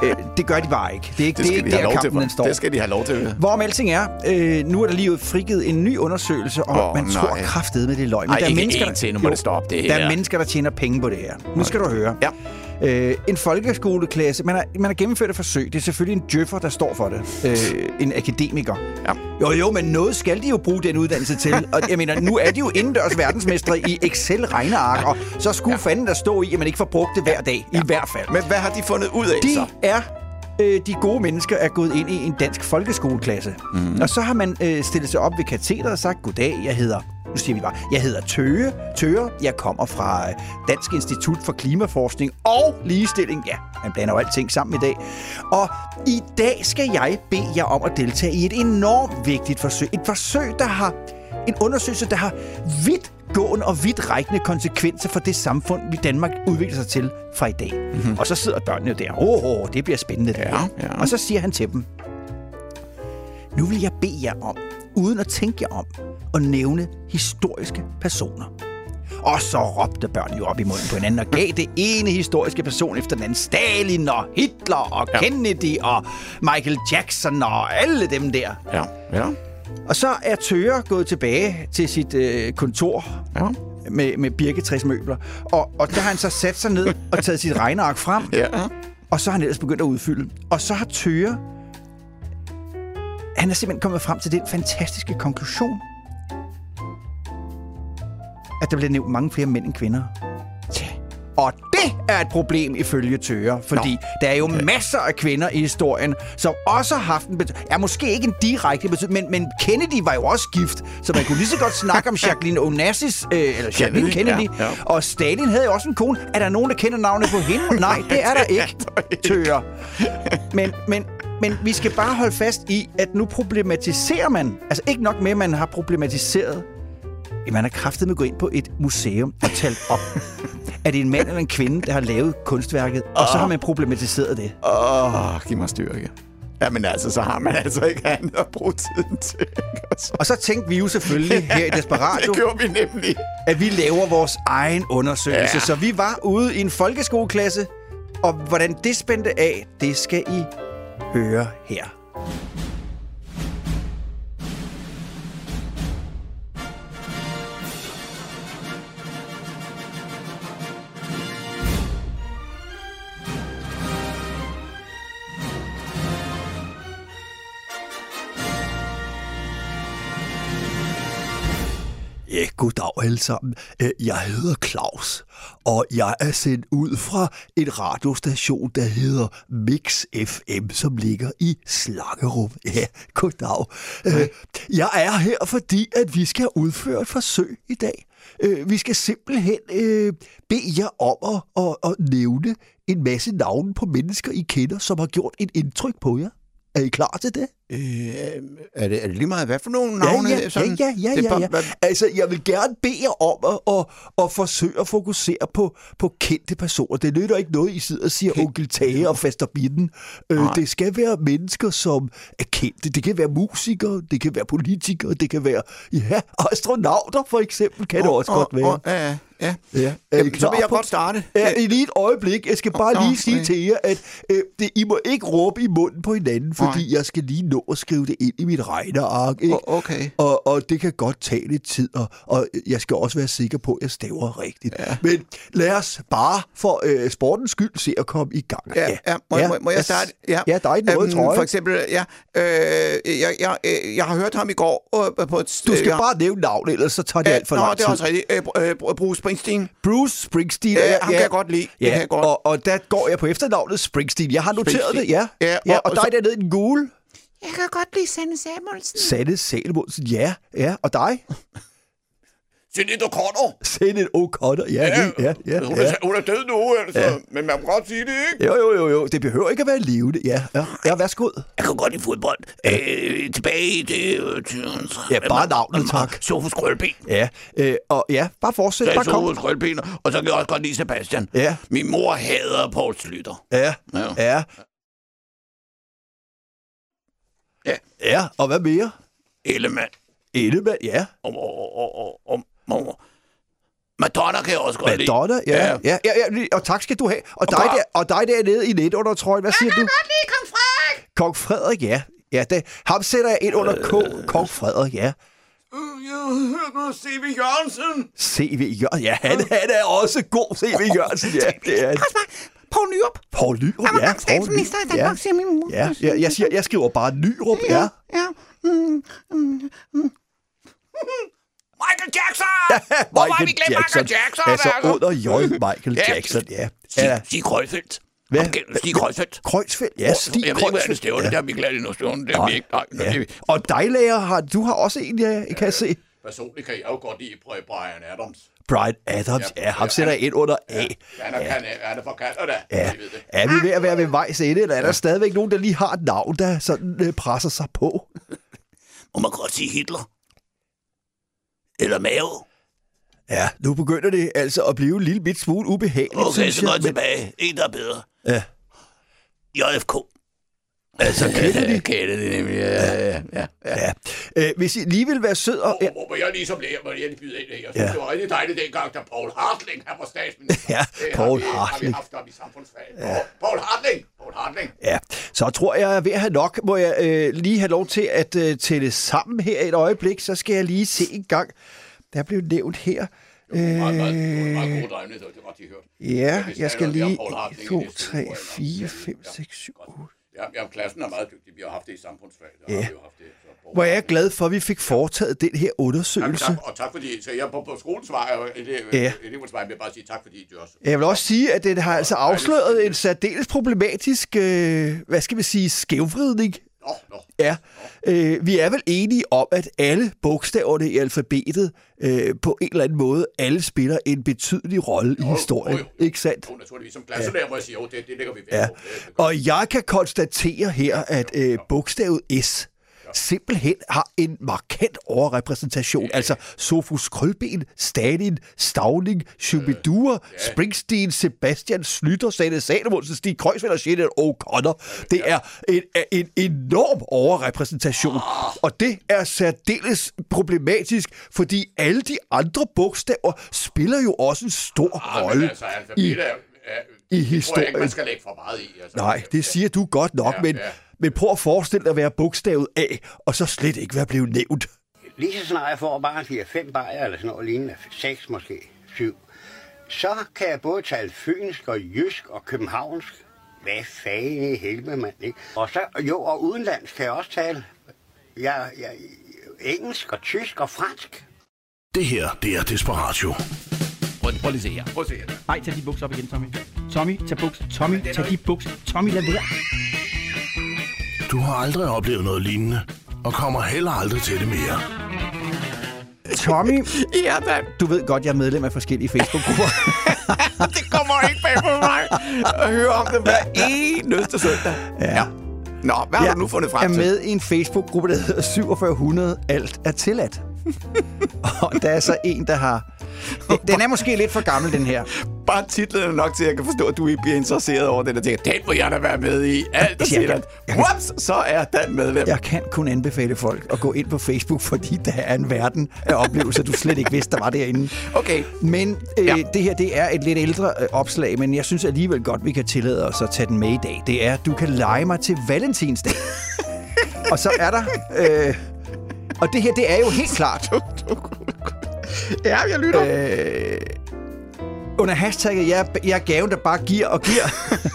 Speaker 5: Øh, det gør de bare ikke. Det er ikke det,
Speaker 4: skal
Speaker 5: det, er
Speaker 4: de
Speaker 5: ikke
Speaker 4: have
Speaker 5: der,
Speaker 4: lov til.
Speaker 5: kampen den
Speaker 4: for-
Speaker 5: står.
Speaker 4: Det skal de have lov til.
Speaker 5: Hvorom alting er, øh, nu er der lige frigivet en ny undersøgelse, og
Speaker 4: Åh,
Speaker 5: oh, man
Speaker 4: nej.
Speaker 5: tror kraftedeme, med det er løgn.
Speaker 4: Ej,
Speaker 5: der
Speaker 4: ikke
Speaker 5: mennesker,
Speaker 4: en
Speaker 5: der-
Speaker 4: til. Nu må det stoppe, det
Speaker 5: Der
Speaker 4: her.
Speaker 5: er mennesker, der tjener penge på det her. Nu skal du høre.
Speaker 4: Ja.
Speaker 5: Øh, en folkeskoleklasse, man har, man har gennemført et forsøg. Det er selvfølgelig en djøffer, der står for det. Øh, en akademiker.
Speaker 4: Ja.
Speaker 5: Jo, jo, men noget skal de jo bruge den uddannelse
Speaker 4: (laughs)
Speaker 5: til. Og jeg mener, nu er de jo indendørs verdensmestre i Excel-regneark, og så skulle ja. fanden der stå i, at man ikke får brugt det hver dag. Ja. I hvert fald.
Speaker 4: Men hvad har de fundet ud af,
Speaker 5: De
Speaker 4: så?
Speaker 5: er øh, de gode mennesker er gået ind i en dansk folkeskoleklasse. Mm. Og så har man øh, stillet sig op ved katheteret og sagt, goddag, jeg hedder... Nu siger vi bare, jeg hedder Tøge. Tøger, jeg kommer fra øh, Dansk Institut for Klimaforskning og Ligestilling. Ja, man blander jo alting sammen i dag. Og i dag skal jeg bede jer om at deltage i et enormt vigtigt forsøg. Et forsøg, der har... En undersøgelse, der har vidt gående og vidtrækkende konsekvenser for det samfund, vi i Danmark udvikler sig til fra i dag. Mm-hmm. Og så sidder børnene der. Åh, oh, det bliver spændende. Ja,
Speaker 4: ja.
Speaker 5: Og så siger han til dem, nu vil jeg bede jer om, uden at tænke jer om, at nævne historiske personer. Og så råbte børnene jo op i munden på hinanden og gav det ene historiske person efter den anden. Stalin og Hitler og ja. Kennedy og Michael Jackson og alle dem der.
Speaker 4: Ja, ja,
Speaker 5: Og så er Tøger gået tilbage til sit øh, kontor
Speaker 4: ja.
Speaker 5: med, med birketræsmøbler. Og, og der har han så sat sig ned og taget sit regneark frem.
Speaker 4: Ja.
Speaker 5: Og så har han ellers begyndt at udfylde. Og så har Tøger... Han er simpelthen kommet frem til den fantastiske konklusion, at der bliver nævnt mange flere mænd end kvinder. Ja. Og det er et problem ifølge Tøger, fordi Nå. der er jo okay. masser af kvinder i historien, som også har haft en betydning. Ja, måske ikke en direkte betydning, men, men Kennedy var jo også gift, så man kunne lige så godt snakke (laughs) om Jacqueline Onassis, øh, eller Jacqueline
Speaker 4: Kennedy,
Speaker 5: Kennedy,
Speaker 4: ja, ja.
Speaker 5: ja, ja. og Stalin havde jo også en kone. Er der nogen, der kender navnet på hende? (laughs) Nej, det er der ikke, Tøger. Men, men, men vi skal bare holde fast i, at nu problematiserer man. Altså ikke nok med, at man har problematiseret Jamen, han har kraftet med at gå ind på et museum og talt (laughs) op. er det en mand eller en kvinde, der har lavet kunstværket, og så har man problematiseret det?
Speaker 4: Åh, giv mig styrke. Jamen altså, så har man altså ikke andet at bruge tiden til. ikke? Og så-
Speaker 5: Og så tænkte vi jo
Speaker 4: (laughs)
Speaker 5: selvfølgelig her i Desperado,
Speaker 4: Det gjorde vi nemlig.
Speaker 5: at vi laver vores egen undersøgelse.
Speaker 4: Ja.
Speaker 5: Ja. Så vi var ude i en folkeskoleklasse, og hvordan det spændte af, det skal I høre her. Ja, goddag alle sammen. Øh, Jeg hedder Claus, og jeg er sendt ud fra en radiostation, der hedder Mix FM, som ligger i Slangerum. Ja, goddag. Øh, Jeg er her, fordi at vi skal udføre et forsøg i dag. Øh, Vi skal simpelthen øh, bede jer om at, at, at nævne en masse navne på mennesker, I kender, som har gjort et indtryk på jer. Er I klar til det?
Speaker 4: Øh, er, det, er det lige meget, hvad for nogle
Speaker 5: ja, ja, ja, ja,
Speaker 4: Det er
Speaker 5: ja,
Speaker 4: bare-
Speaker 5: ja.
Speaker 4: hvad-
Speaker 5: Altså, jeg vil gerne bede jer om at, at, at forsøge at fokusere på, på kendte personer. Det nytter ikke noget, I sidder og siger onkel Tage og faster binden. Øh, det skal være mennesker, som er kendte. Det kan være musikere, det kan være politikere, det kan være ja, astronauter for eksempel, kan det også
Speaker 4: Åh,
Speaker 5: godt
Speaker 4: åh,
Speaker 5: være.
Speaker 4: ja, ja.
Speaker 5: Ja, er I
Speaker 10: Øh,
Speaker 4: Jamen, så
Speaker 5: klar
Speaker 4: vil jeg
Speaker 5: på-
Speaker 4: godt starte.
Speaker 5: Ja, i lige et øjeblik. Jeg skal bare
Speaker 4: Nå,
Speaker 5: lige sige
Speaker 4: okay.
Speaker 5: til jer, at øh, det, I må ikke råbe i munden på hinanden, fordi
Speaker 4: Nej.
Speaker 5: jeg skal lige nå nå at skrive det ind i mit regneark. Ikke?
Speaker 10: O- okay.
Speaker 5: Og, og det kan godt tage lidt tid, og, og jeg skal også være sikker på, at jeg staver rigtigt. Ja. Men lad os bare for øh, sportens skyld se at komme i gang.
Speaker 10: Ja, ja. Må, ja. Må, må jeg
Speaker 5: Yes.
Speaker 10: starte?
Speaker 5: ja der er ikke noget, tror jeg.
Speaker 10: For eksempel, ja, øh, jeg, jeg, øh, jeg har hørt ham i går øh, på et...
Speaker 5: Du skal
Speaker 10: jeg,
Speaker 5: bare nævne navnet, ellers så tager det alt for
Speaker 10: Nå,
Speaker 5: lang
Speaker 10: det
Speaker 5: tid.
Speaker 10: er også rigtigt. Øh, br- øh, Bruce Springsteen.
Speaker 5: Bruce Springsteen.
Speaker 10: Ja,
Speaker 5: og
Speaker 10: ham kan jeg godt lide. Det kan jeg godt.
Speaker 5: Og, og der går jeg på efternavnet Springsteen. Jeg har noteret
Speaker 10: Springsteen.
Speaker 5: det, ja.
Speaker 10: Ja,
Speaker 5: ja
Speaker 10: og-
Speaker 5: og,
Speaker 10: og
Speaker 5: dig
Speaker 10: så-
Speaker 5: dernede i den gule.
Speaker 10: Jeg kan godt lide Sanne Samuelsen.
Speaker 5: Sanne Salmonsen, ja. ja. Og dig? (laughs)
Speaker 10: Jeanette O'Connor.
Speaker 5: Sanne O'Connor, "Oh, ja. Ja, ja, ja, ja.
Speaker 10: hun er død nu, altså. Ja. Men man må godt sige det, ikke?
Speaker 5: Jo, jo, jo, jo. Det behøver ikke at være levende, ja. Ja, ja værsgo.
Speaker 10: Jeg kan godt lide fodbold. Øh, tilbage i det... Øh, til,
Speaker 5: Ja, bare navnet, tak.
Speaker 10: Sofus Krølben.
Speaker 5: Ja, øh, og ja, bare fortsæt,
Speaker 10: Der er
Speaker 5: bare kom.
Speaker 10: Sofus Krølben, og så kan jeg også godt lide Sebastian.
Speaker 5: Ja.
Speaker 10: Min mor hader Poul Slytter.
Speaker 5: Ja,
Speaker 10: Ja.
Speaker 5: ja.
Speaker 10: Ja.
Speaker 5: Ja, og hvad mere?
Speaker 10: Ellemann.
Speaker 5: Ellemann, ja.
Speaker 10: Og, og, og, og, og, og. Madonna kan jeg også godt lide.
Speaker 5: Madonna, ja.
Speaker 10: Ja.
Speaker 5: Ja. Ja, ja, ja, og tak skal du have. Og, dig,
Speaker 10: bare-
Speaker 5: der, og dig dernede i net under trøjen, hvad siger du? Jeg kan godt lide Kong Frederik. Kong Frederik, ja. Ja, det, ham sætter jeg ind under
Speaker 10: Øh.
Speaker 5: K. Kong Frederik, ja.
Speaker 10: Jeg hører godt C.V. Jørgensen.
Speaker 5: C.V. Jørgensen, ja, han, han er også god, C.V. Jørgensen, ja. Det er han.
Speaker 10: Poul Nyrup.
Speaker 5: Poul Nyrup,
Speaker 10: Han var
Speaker 5: ja.
Speaker 10: engang statsminister i Danmark, siger min mor.
Speaker 5: Ja, ja jeg, siger, jeg skriver bare Nyrup, ja.
Speaker 10: Ja. Mm, mm, mm. (laughs) Michael Jackson! Hvor var vi glemt Michael Jackson?
Speaker 5: Altså under J. Michael Jackson, ja. ja.
Speaker 10: Stig, Stig Krøjfeldt.
Speaker 5: Hvad?
Speaker 10: Omgæld- Stig Krøjfeldt.
Speaker 5: Kreuzfeldt, ja, Stig
Speaker 10: Jeg ved ikke, hvad det
Speaker 5: Kreuzfeldt,
Speaker 10: stævne.
Speaker 5: ja.
Speaker 10: Det har vi glædet i noget stævne. Det har vi ikke. Nej, ja. det er
Speaker 5: ja.
Speaker 10: vi.
Speaker 5: Og dig, lærer, har, du har også en, jeg kan jeg se.
Speaker 10: Personligt kan jeg jo godt lide Bri- Brian Adams.
Speaker 5: Brian Adams, ja,
Speaker 10: Ja,
Speaker 5: ja ham
Speaker 10: ja,
Speaker 5: sætter jeg ind under A.
Speaker 10: Han er, kan, han Ah. er fra Canada.
Speaker 5: Ja.
Speaker 10: I ved det.
Speaker 5: Er vi ved at være ved vejs ende, eller er der stadigvæk nogen, der lige har et navn, der sådan øh, presser sig på?
Speaker 10: Må man godt sige Hitler? Eller Mao?
Speaker 5: Ja, nu begynder det altså at blive en lille bit smule ubehageligt,
Speaker 10: Okay,
Speaker 5: synes
Speaker 10: så går
Speaker 5: jeg.
Speaker 10: jeg tilbage. En, der er bedre.
Speaker 5: Ja.
Speaker 10: JFK. Altså, Kennedy. Kennedy, nemlig. Ja, ja, ja. ja.
Speaker 5: ja. Øh, hvis I lige vil være sød og... Ja,
Speaker 10: Hvor jeg ligesom lærer, hvor jeg lige byder ind. Jeg synes,
Speaker 5: Ja.
Speaker 10: det var rigtig dejligt dengang, da Paul Hartling han var statsminister.
Speaker 5: (laughs) Ja,
Speaker 10: Det
Speaker 5: Poul
Speaker 10: har vi,
Speaker 5: Hartling.
Speaker 10: Har vi haft ham i samfundsfag. Ja. Paul Hartling. Paul Hartling.
Speaker 5: ja, så tror jeg, jeg er ved at have nok. Må jeg øh, lige have lov til at øh, tælle sammen her et øjeblik, så skal jeg lige se en gang. Der blev nævnt her... øh,
Speaker 10: Det var en meget, det var en meget god drejende, det var godt, de hørte.
Speaker 5: Ja,
Speaker 10: hvis der er
Speaker 5: jeg skal
Speaker 10: noget, vi har
Speaker 5: lige...
Speaker 10: Poul Hartling i
Speaker 5: 1, 2,
Speaker 10: næste
Speaker 5: 3,
Speaker 10: uge,
Speaker 5: 4,
Speaker 10: eller-
Speaker 5: 5,
Speaker 10: Ja,
Speaker 5: 6, 7, 8...
Speaker 10: Ja, ja, klassen er meget dygtig. Vi har haft det i samfundsfag. Der
Speaker 5: Ja.
Speaker 10: har vi jo haft det. Så Poul
Speaker 5: Hvor jeg er
Speaker 10: Hartling.
Speaker 5: glad for, at vi fik foretaget den her
Speaker 10: Jamen,
Speaker 5: undersøgelse.
Speaker 10: tak, og tak fordi, så jeg på, på skolens vej, og ele-
Speaker 5: Ja.
Speaker 10: elevens vej, vil jeg bare sige tak fordi, du også.
Speaker 5: Jeg vil også sige, at den har altså afsløret en særdeles problematisk, øh, hvad skal vi sige, skævvridning.
Speaker 10: Nå, nå.
Speaker 5: Ja, øh, vi er vel enige om, at alle bogstaverne i alfabetet øh, på en eller anden måde, alle spiller en betydelig rolle i historien,
Speaker 10: jo, jo.
Speaker 5: ikke sandt?
Speaker 10: Jo, naturligvis. Som klasselærer må jeg sige, jo, det, det lægger vi væk
Speaker 5: Ja.
Speaker 10: på. Det- det gør vi.
Speaker 5: Og jeg kan konstatere her, at øh, bogstavet S simpelthen har en markant overrepræsentation. Altså Sofus Krølben, Stalin, Stavning, Schubidur, Springsteen, Sebastian Slytter, Sanne Salomonsen, Stig Kreuzfeldt og Jeanette O'Connor. Det er en, en enorm overrepræsentation.
Speaker 10: Ah.
Speaker 5: Og det er særdeles problematisk, fordi alle de andre bogstaver spiller jo også en stor
Speaker 10: Ah, men
Speaker 5: rolle
Speaker 10: altså,
Speaker 5: i
Speaker 10: alfabetet er, er, det tror
Speaker 5: i
Speaker 10: jeg ikke,
Speaker 5: historien.
Speaker 10: man skal lægge for meget i. Altså.
Speaker 5: Nej, det siger du godt nok,
Speaker 10: Ja,
Speaker 5: ja, men,
Speaker 10: ja.
Speaker 5: ja. men prøv at forestille dig at være bogstavet A, og så slet ikke være blevet nævnt.
Speaker 11: Lige så snart jeg får bare siger fem bajer eller sådan noget lignende, seks måske, syv, så kan jeg både tale fynsk og jysk og københavnsk. Hvad fanden i helvede, mand, ikke? Og så, jo, og udenlands kan jeg også tale. Jeg, jeg, engelsk og tysk og fransk.
Speaker 1: Det her, det er Desperatio.
Speaker 10: Prøv, prøv lige at se her. Prøv at se her.
Speaker 12: Nej, tag de bukser op igen, Tommy. Tommy, tag bukser. Tommy, tag de bukser. Tommy, lad være.
Speaker 1: Du har aldrig oplevet noget lignende, og kommer heller aldrig til det mere.
Speaker 4: Tommy,
Speaker 10: Ja, da.
Speaker 4: du ved godt, jeg er medlem af forskellige Facebook-grupper.
Speaker 10: det kommer ikke bag på mig at høre om det hver eneste søndag. (laughs) Ja. ja. Nå, hvad har du nu fundet
Speaker 4: er
Speaker 10: frem til?
Speaker 4: med i en Facebook-gruppe, der hedder 4700 Alt er
Speaker 10: (laughs)
Speaker 4: tilladt. og der er så en, der har... Den er måske lidt for gammel, den her.
Speaker 10: Bare titlen er nok til, at jeg kan forstå, at du ikke bliver interesseret over det, der tænker, den må jeg da være med i. Alt er
Speaker 4: Jeg kan-
Speaker 10: sikkert. Whoops, så er den medlem.
Speaker 4: Jeg kan kun anbefale folk at gå ind på Facebook, fordi der er en verden af oplevelser, du slet ikke vidste, der var derinde.
Speaker 10: Okay.
Speaker 4: Men øh,
Speaker 10: Ja.
Speaker 4: ja. det her, det er et lidt ældre øh, opslag, men jeg synes alligevel godt, vi kan tillade os at tage den med i dag. Det er, du kan lege mig til valentinsdag.
Speaker 5: Og så er der... Øh, og det her, det er jo helt klart...
Speaker 4: ja, jeg lytter.
Speaker 5: Øh, under hashtagget, jeg, er- jeg er gaven, der bare giver og giver,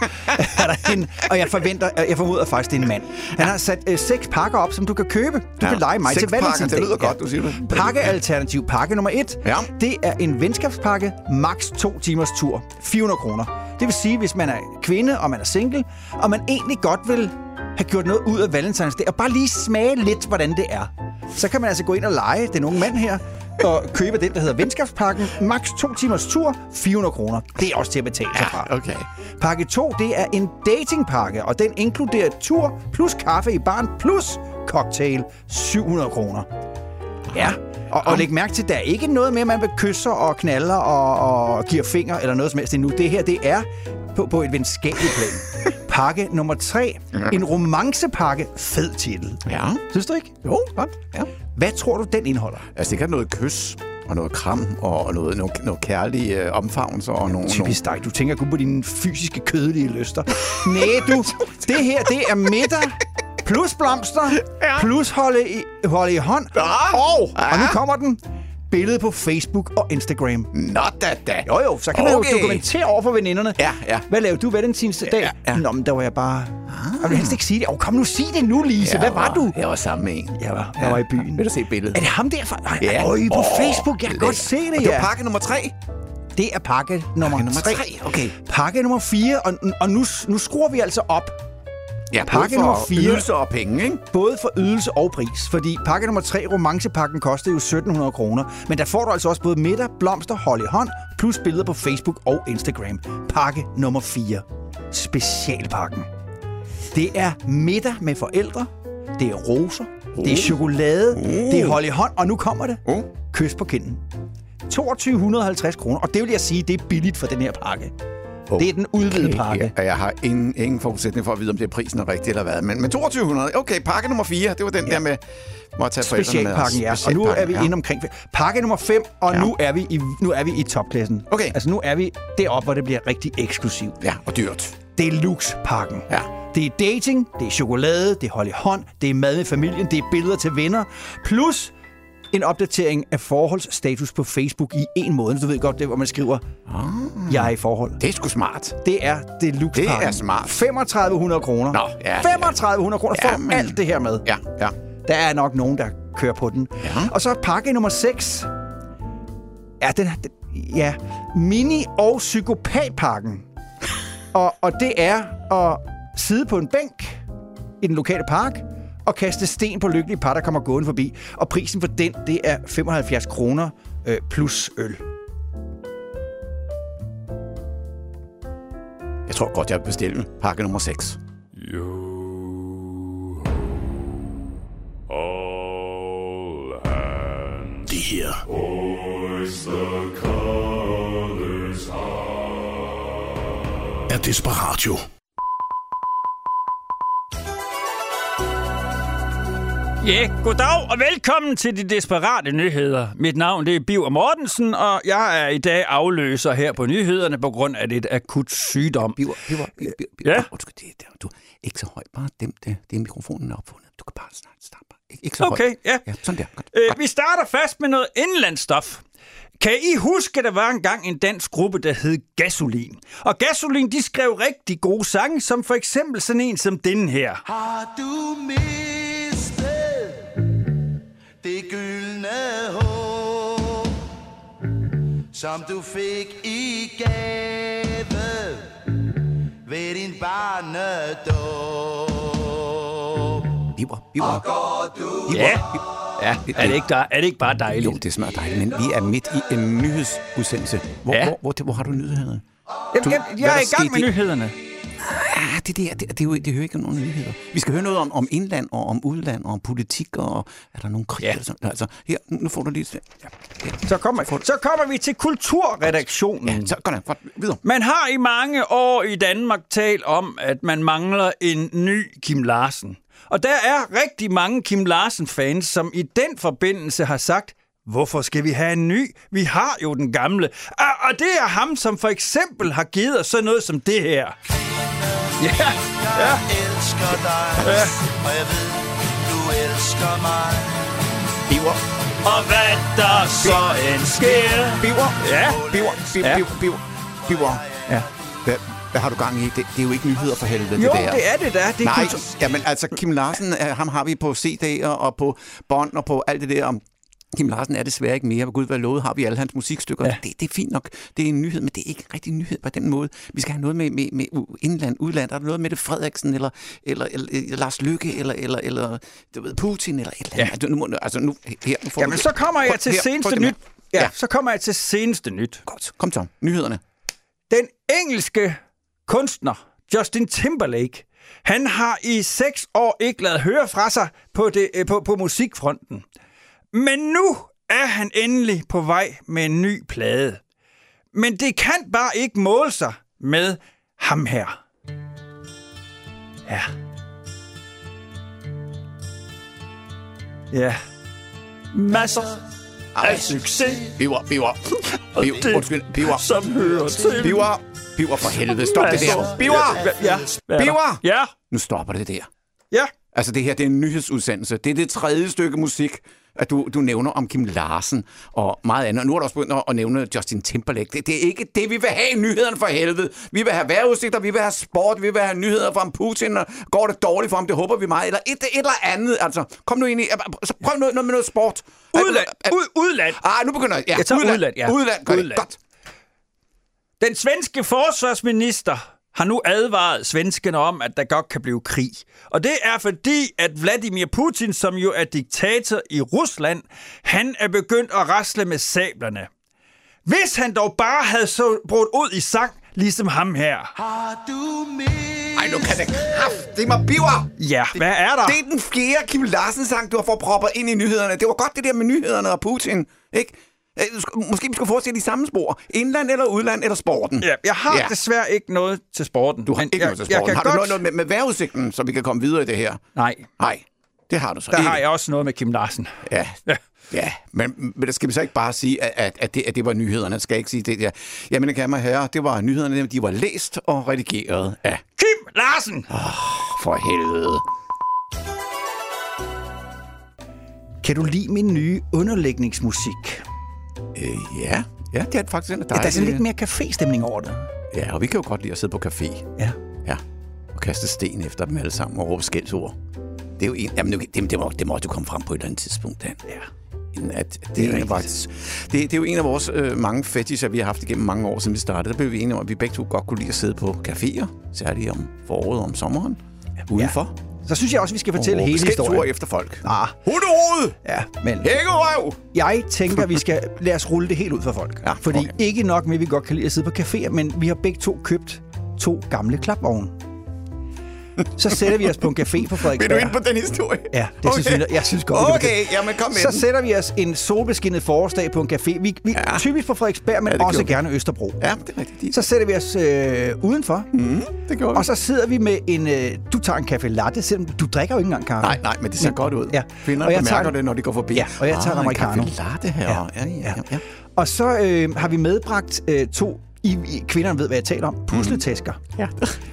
Speaker 5: (laughs) er der en, og jeg forventer, jeg formoder faktisk, det er en mand. Han har sat øh, seks pakker op, som du kan købe. Du
Speaker 4: Ja,
Speaker 5: kan lege mig
Speaker 4: seks
Speaker 5: til
Speaker 4: pakker,
Speaker 5: valentinsdag.
Speaker 4: det lyder godt, du siger det.
Speaker 5: Pakkealternativ, pakke nummer et,
Speaker 4: Ja.
Speaker 5: det er en venskabspakke, maks to timers tur, 400 kroner. Det vil sige, hvis man er kvinde, og man er single, og man egentlig godt vil have gjort noget ud af valentinsdag, og bare lige smage lidt, hvordan det er, så kan man altså gå ind og lege den unge mand her, og købe den, der hedder venskabspakken, maks to timers tur, 400 kroner. Det er også til at betale sig fra.
Speaker 4: okay.
Speaker 5: Pakke 2, det er en datingpakke, og den inkluderer tur plus kaffe i baren plus cocktail, 700 kroner. Ja, og, og læg mærke til, der er ikke noget med, at man vil kysse og knaller og, og giver finger eller noget som helst endnu. Det her, det er på, på et venskabeligt plan. Pakke nummer 3, en romancepakke, fed titel.
Speaker 4: Ja.
Speaker 5: Synes du ikke?
Speaker 4: Jo, godt. Ja.
Speaker 5: Hvad tror du, den indeholder?
Speaker 4: Altså, det kan noget kys og noget kram og noget, noget, noget kærlig øh, omfavnelse og nogle...
Speaker 5: Typisk dig. Du tænker kun på dine fysiske, kødelige lyster. Næ, du. Det her, det er middag. Plus blomster. Ja. Plus holde i, holde i hånd. Ja. Og, og nu kommer den. Billede på Facebook og Instagram.
Speaker 4: Nogle... Nå da da.
Speaker 5: Jo jo, så kan okay. man
Speaker 4: Okay.
Speaker 5: jo dokumentere over for veninderne.
Speaker 4: Ja, ja.
Speaker 5: Hvad lavede du valentinsdag?
Speaker 4: Ja, ja.
Speaker 5: Nå, men der var jeg bare... Ah. Jeg vil helst ikke sige det. Oh, kom nu, sig det nu, Lise. Ja, Hvad var du?
Speaker 4: Jeg var sammen med en.
Speaker 5: Jeg var, jeg var i byen.
Speaker 4: Vil du se billedet?
Speaker 5: Er det ham der fra... Nej,
Speaker 4: Ja.
Speaker 5: øj, på
Speaker 4: Åh,
Speaker 5: Facebook. Jeg kan godt se det,
Speaker 4: Og det var pakke nummer tre.
Speaker 5: det er pakke nummer,
Speaker 4: nummer
Speaker 5: tre.
Speaker 4: tre, okay.
Speaker 5: Pakke nummer 4, og, og nu, nu skruer vi altså op.
Speaker 4: Ja,
Speaker 5: Pakke
Speaker 4: både for
Speaker 5: nummer fire.
Speaker 4: Ydelser og penge, ikke?
Speaker 5: Både for ydelse og pris. Fordi pakke nummer 3, romancepakken, koster jo 1700 kroner. Men der får du altså også både middag, blomster, hold i hånd, plus billeder på Facebook og Instagram. Pakke nummer 4. Specialpakken. Det er middag med forældre. Det er roser. Det er
Speaker 4: Uh.
Speaker 5: chokolade. Det er hold i hånd. Og nu kommer det.
Speaker 4: Oh.
Speaker 5: Kys på kinden. 2250 kroner. Og det vil jeg sige, det er billigt for den her pakke. Oh. Det er den udvidede pakke.
Speaker 4: Ja, og jeg har ingen, ingen forudsætning for at vide, om det er prisen er rigtig eller hvad. Men, men 2200, okay, pakke nummer 4, det var den ja. der med, hvor jeg tage forældrene med.
Speaker 5: Specialpakken, ja. Og nu er vi
Speaker 4: Specialpakken,
Speaker 5: ja. inde omkring... Pakke nummer 5, og
Speaker 4: Ja.
Speaker 5: ja. nu, er vi i, nu er vi i topklassen.
Speaker 4: Okay.
Speaker 5: Altså, nu er vi deroppe, hvor det bliver rigtig eksklusivt.
Speaker 4: Ja, og dyrt.
Speaker 5: Det er luxe-pakken.
Speaker 4: Ja.
Speaker 5: Det er dating, det er chokolade, det er hold i hånd, det er mad med familien, det er billeder til venner, plus en opdatering af forholdsstatus på Facebook i en måned. Du ved godt, det er, hvor man skriver, oh. jeg er i forhold.
Speaker 4: Ah. Det er sgu smart.
Speaker 5: Det er det luxe
Speaker 4: Det er smart.
Speaker 5: 3500 kroner.
Speaker 4: Nå, ja, det er-
Speaker 5: 3500 kroner for
Speaker 4: Jamen.
Speaker 5: alt det her med.
Speaker 4: Ja, ja.
Speaker 5: Der er nok nogen, der kører på den.
Speaker 4: Ja.
Speaker 5: Og så pakke nummer 6. Ja, den, den ja. Mini- og psykopatpakken. og, og det er at sidde på en bænk i den lokale park og kaste sten på lykkelige par, der kommer gående forbi. Og prisen for den, det er 75 kroner øh, plus øl.
Speaker 4: Jeg tror godt, jeg vil bestille pakke nummer 6.
Speaker 1: Det her er Desperatio.
Speaker 13: Ja, goddag og velkommen til de desperate nyheder. Mit navn det er Biver Mortensen, og jeg er i dag afløser her på nyhederne på grund af lidt akut sygdom.
Speaker 4: Biver, biver, biver, biver.
Speaker 13: Ja.
Speaker 4: Undskyld, det der. Du, ikke så højt. Bare dæmp det. Det er mikrofonen er opfundet. Du kan bare snart starte. Ikke, ikke så
Speaker 13: Okay,
Speaker 4: højt.
Speaker 13: ja.
Speaker 4: ja. Sådan der. Godt.
Speaker 13: Øh, vi starter først med noget indlandsstof. Kan I huske, der var engang en dansk gruppe, der hed Gasolin? Og Gasolin, de skrev rigtig gode sange, som for eksempel sådan en som den her.
Speaker 14: Har du mistet det gyldne håb, som du fik i gave ved din barnedåb?
Speaker 4: Biver, biver.
Speaker 13: Ja,
Speaker 4: Ja,
Speaker 13: er det ikke, der, er det ikke bare
Speaker 4: Jo,
Speaker 13: dejligt?
Speaker 4: det smager dejligt, men vi er midt i en nyhedsudsendelse. Hvor,
Speaker 13: Ja.
Speaker 4: hvor, hvor, hvor, har du nyhederne?
Speaker 13: Jamen, jeg,
Speaker 4: hvad
Speaker 13: jeg er
Speaker 4: der
Speaker 13: i gang
Speaker 4: skete
Speaker 13: med
Speaker 4: i-
Speaker 13: nyhederne.
Speaker 4: Ah, det, der, det, det, er jo, det hører ikke om nogen nyheder. Vi skal høre noget om, om indland og om udland og om politik og er der nogen krig?
Speaker 13: Ja.
Speaker 4: Ja. Sådan, altså, her, nu får du lige... Ja, ja.
Speaker 13: Så kommer, så kommer vi til kulturredaktionen.
Speaker 4: ja så går der godt, videre.
Speaker 13: Man har i mange år i Danmark talt om, at man mangler en ny Kim Larsen. Og der er rigtig mange Kim Larsen-fans, som i den forbindelse har sagt, hvorfor skal vi have en ny? Vi har jo den gamle. Og- Og det er ham, som for eksempel har givet os sådan noget som det her. Ja,
Speaker 14: Jeg elsker dig, og jeg ved, elsker mig.
Speaker 4: Biver.
Speaker 14: Og hvad der så end sker.
Speaker 4: Biver.
Speaker 14: Ja.
Speaker 4: Biver. Biver.
Speaker 14: Ja.
Speaker 4: Biver. Biver. Biver.
Speaker 5: Ja.
Speaker 4: Hvad, hvad har du gang i? Det, det er jo ikke nyheder for helvede,
Speaker 5: Jo,
Speaker 4: det der.
Speaker 5: det er det da. Det er
Speaker 4: Nej,
Speaker 5: kultur-
Speaker 4: jamen altså, Kim Larsen, øh, ham har vi på CD'er og på bånd og på alt det der om... Kim Larsen er desværre ikke mere. Gud være lovet, har vi alle hans musikstykker. Ja. Det, det, er fint nok. Det er en nyhed, men det er ikke rigtig en nyhed på den måde. Vi skal have noget med, med, med u- indland, udland. Er der noget med det Frederiksen, eller, eller, eller, eller Lars Lykke, eller, eller, eller du ved, Putin, eller et eller andet. Ja. Nu, må- altså, nu, her, nu får du
Speaker 13: Jamen,
Speaker 4: det.
Speaker 13: så kommer jeg
Speaker 4: Prøv-
Speaker 13: til
Speaker 4: her, prøv
Speaker 13: seneste
Speaker 4: dem her.
Speaker 13: nyt. Ja, ja, så kommer jeg til seneste nyt.
Speaker 4: Godt. Kom, Tom. Nyhederne.
Speaker 13: Den engelske kunstner Justin Timberlake, han har i seks år ikke lavet høre fra sig på, det, øh, på, på musikfronten. Men nu er han endelig på vej med en ny plade. Men det kan bare ikke måle sig med ham her. Ja. Ja. Masser
Speaker 4: af
Speaker 14: succes.
Speaker 4: Biver, biver.
Speaker 14: Og
Speaker 4: Biver,
Speaker 14: det,
Speaker 4: undskyld, biver.
Speaker 14: som hører til.
Speaker 4: Biver, biver for helvede. Stop det der. Biver!
Speaker 13: Ja.
Speaker 4: Biver!
Speaker 13: Ja.
Speaker 4: Nu stopper det der.
Speaker 13: Ja.
Speaker 4: Altså, det her, det er en nyhedsudsendelse. Det er det tredje stykke musik, at du, du nævner om Kim Larsen og meget andet. Og nu er du også begyndt at- at nævne Justin Timberlake. Det, det er ikke det, vi vil have i nyhederne for helvede. Vi vil have vejrudsigter, vi vil have sport, vi vil have nyheder fra om Putin, og går det dårligt for ham, det håber vi meget, eller et, et eller andet. Altså, kom nu ind i, så prøv noget, noget med noget sport.
Speaker 13: Udland. Ud, udland.
Speaker 4: Ah, nu begynder jeg. Ja,
Speaker 13: Jeg tager udland, ja.
Speaker 4: Udland, gør
Speaker 13: Udland.
Speaker 4: Det. Godt.
Speaker 13: Den svenske forsvarsminister har nu advaret svenskerne om, at der godt kan blive krig. Og det er fordi, at Vladimir Putin, som jo er diktator i Rusland, han er begyndt at rasle med sablerne. Hvis han dog bare havde så brudt ud i sang, ligesom ham her.
Speaker 4: Ej, nu kan det kraft. Det er mig biver.
Speaker 13: Ja, hvad er der?
Speaker 4: Det er den fjerde Kim Larsen-sang, du har fået propper ind i nyhederne. Det var godt det der med nyhederne og Putin, ikke? Øh, du sk- Måske vi skulle fortsætte i samme spor. Indland eller udland eller sporten.
Speaker 13: Ja, jeg har ja. desværre ikke noget til sporten.
Speaker 4: Du har ikke
Speaker 13: jeg,
Speaker 4: noget til
Speaker 13: jeg
Speaker 4: sporten.
Speaker 13: kan
Speaker 4: Har du
Speaker 13: godt...
Speaker 4: noget, noget med, med vejrudsigten, så vi kan komme videre i det her?
Speaker 13: Nej,
Speaker 4: Nej, det har du så
Speaker 13: der
Speaker 4: ikke.
Speaker 13: har jeg også noget med Kim Larsen.
Speaker 4: Ja. Ja, men, men der skal vi så ikke bare sige, at, at, at, det, at det var nyhederne. Skal jeg ikke sige det der? Jamen, kan mig herre, det var nyhederne, de var læst og redigeret af.
Speaker 13: Kim Larsen!
Speaker 4: For helvede.
Speaker 5: Kan du lide min nye underlægningsmusik?
Speaker 4: Øh, ja. ja, det er faktisk en af
Speaker 5: Ja, der er sådan
Speaker 4: dejlige-
Speaker 5: lidt mere café-stemning over det.
Speaker 4: Ja, og vi kan jo godt lide at sidde på café.
Speaker 5: Ja.
Speaker 4: Ja. Og kaste sten efter dem alle sammen og råbe skældsord. Det er jo en... Jamen, det, det, det, må, det må du komme frem på et eller andet tidspunkt, Dan.
Speaker 5: Ja.
Speaker 4: Inden At, at det, det, er en af vores, det, det er jo en af vores øh, mange fetisher, vi har haft igennem mange år, siden vi startede. Der blev vi enige om, at vi begge to godt kunne lide at sidde på caféer, særligt om foråret og om sommeren, udenfor. Ja.
Speaker 5: Så synes jeg også, vi skal fortælle hele historien.
Speaker 4: efter folk.
Speaker 5: Ah,
Speaker 4: Hundehoved!
Speaker 5: ja, men
Speaker 4: Hækkerøv!
Speaker 5: jeg tænker, vi skal lade os rulle det helt ud for folk.
Speaker 4: Ja,
Speaker 5: Fordi
Speaker 4: okay.
Speaker 5: ikke nok med, at vi godt kan lide at sidde på caféer, men vi har begge to købt to gamle klapvogne. Så sætter vi os på en café på
Speaker 4: (laughs) Vil du
Speaker 5: Frederiksberg.
Speaker 4: ind på den historie?
Speaker 5: Ja, det synes jeg, jeg synes godt, vi kan
Speaker 4: Okay,
Speaker 5: det.
Speaker 4: jamen kom med
Speaker 5: Så
Speaker 4: den.
Speaker 5: sætter vi os en solbeskinnet forårsdag på en café. Vi, vi ja. Typisk på Frederiksberg, men
Speaker 4: Ja,
Speaker 5: ja,
Speaker 4: det
Speaker 5: også
Speaker 4: gjorde vi.
Speaker 5: gerne Østerbro.
Speaker 4: Ja, det er rigtigt. Mm-hmm,
Speaker 5: Så sætter vi os øh, udenfor, mm,
Speaker 4: det gjorde vi.
Speaker 5: og så sidder vi med en... Øh, du tager en kaffe latte, selvom du drikker jo ikke engang kaffe.
Speaker 4: Nej, nej, men det ser godt ud.
Speaker 5: Ja.
Speaker 4: Kvinder
Speaker 5: Og jeg
Speaker 4: bemærker
Speaker 5: tager-
Speaker 4: det, når de går forbi. Ah,
Speaker 5: Ja, og jeg tager en americano.
Speaker 4: En kaffe latte her. Ja, ja, ja. ja.
Speaker 5: Og så øh, har vi medbragt øh, to, I, I, kvinderne ved, hvad jeg taler om, pusletasker,
Speaker 4: Mhm. ja.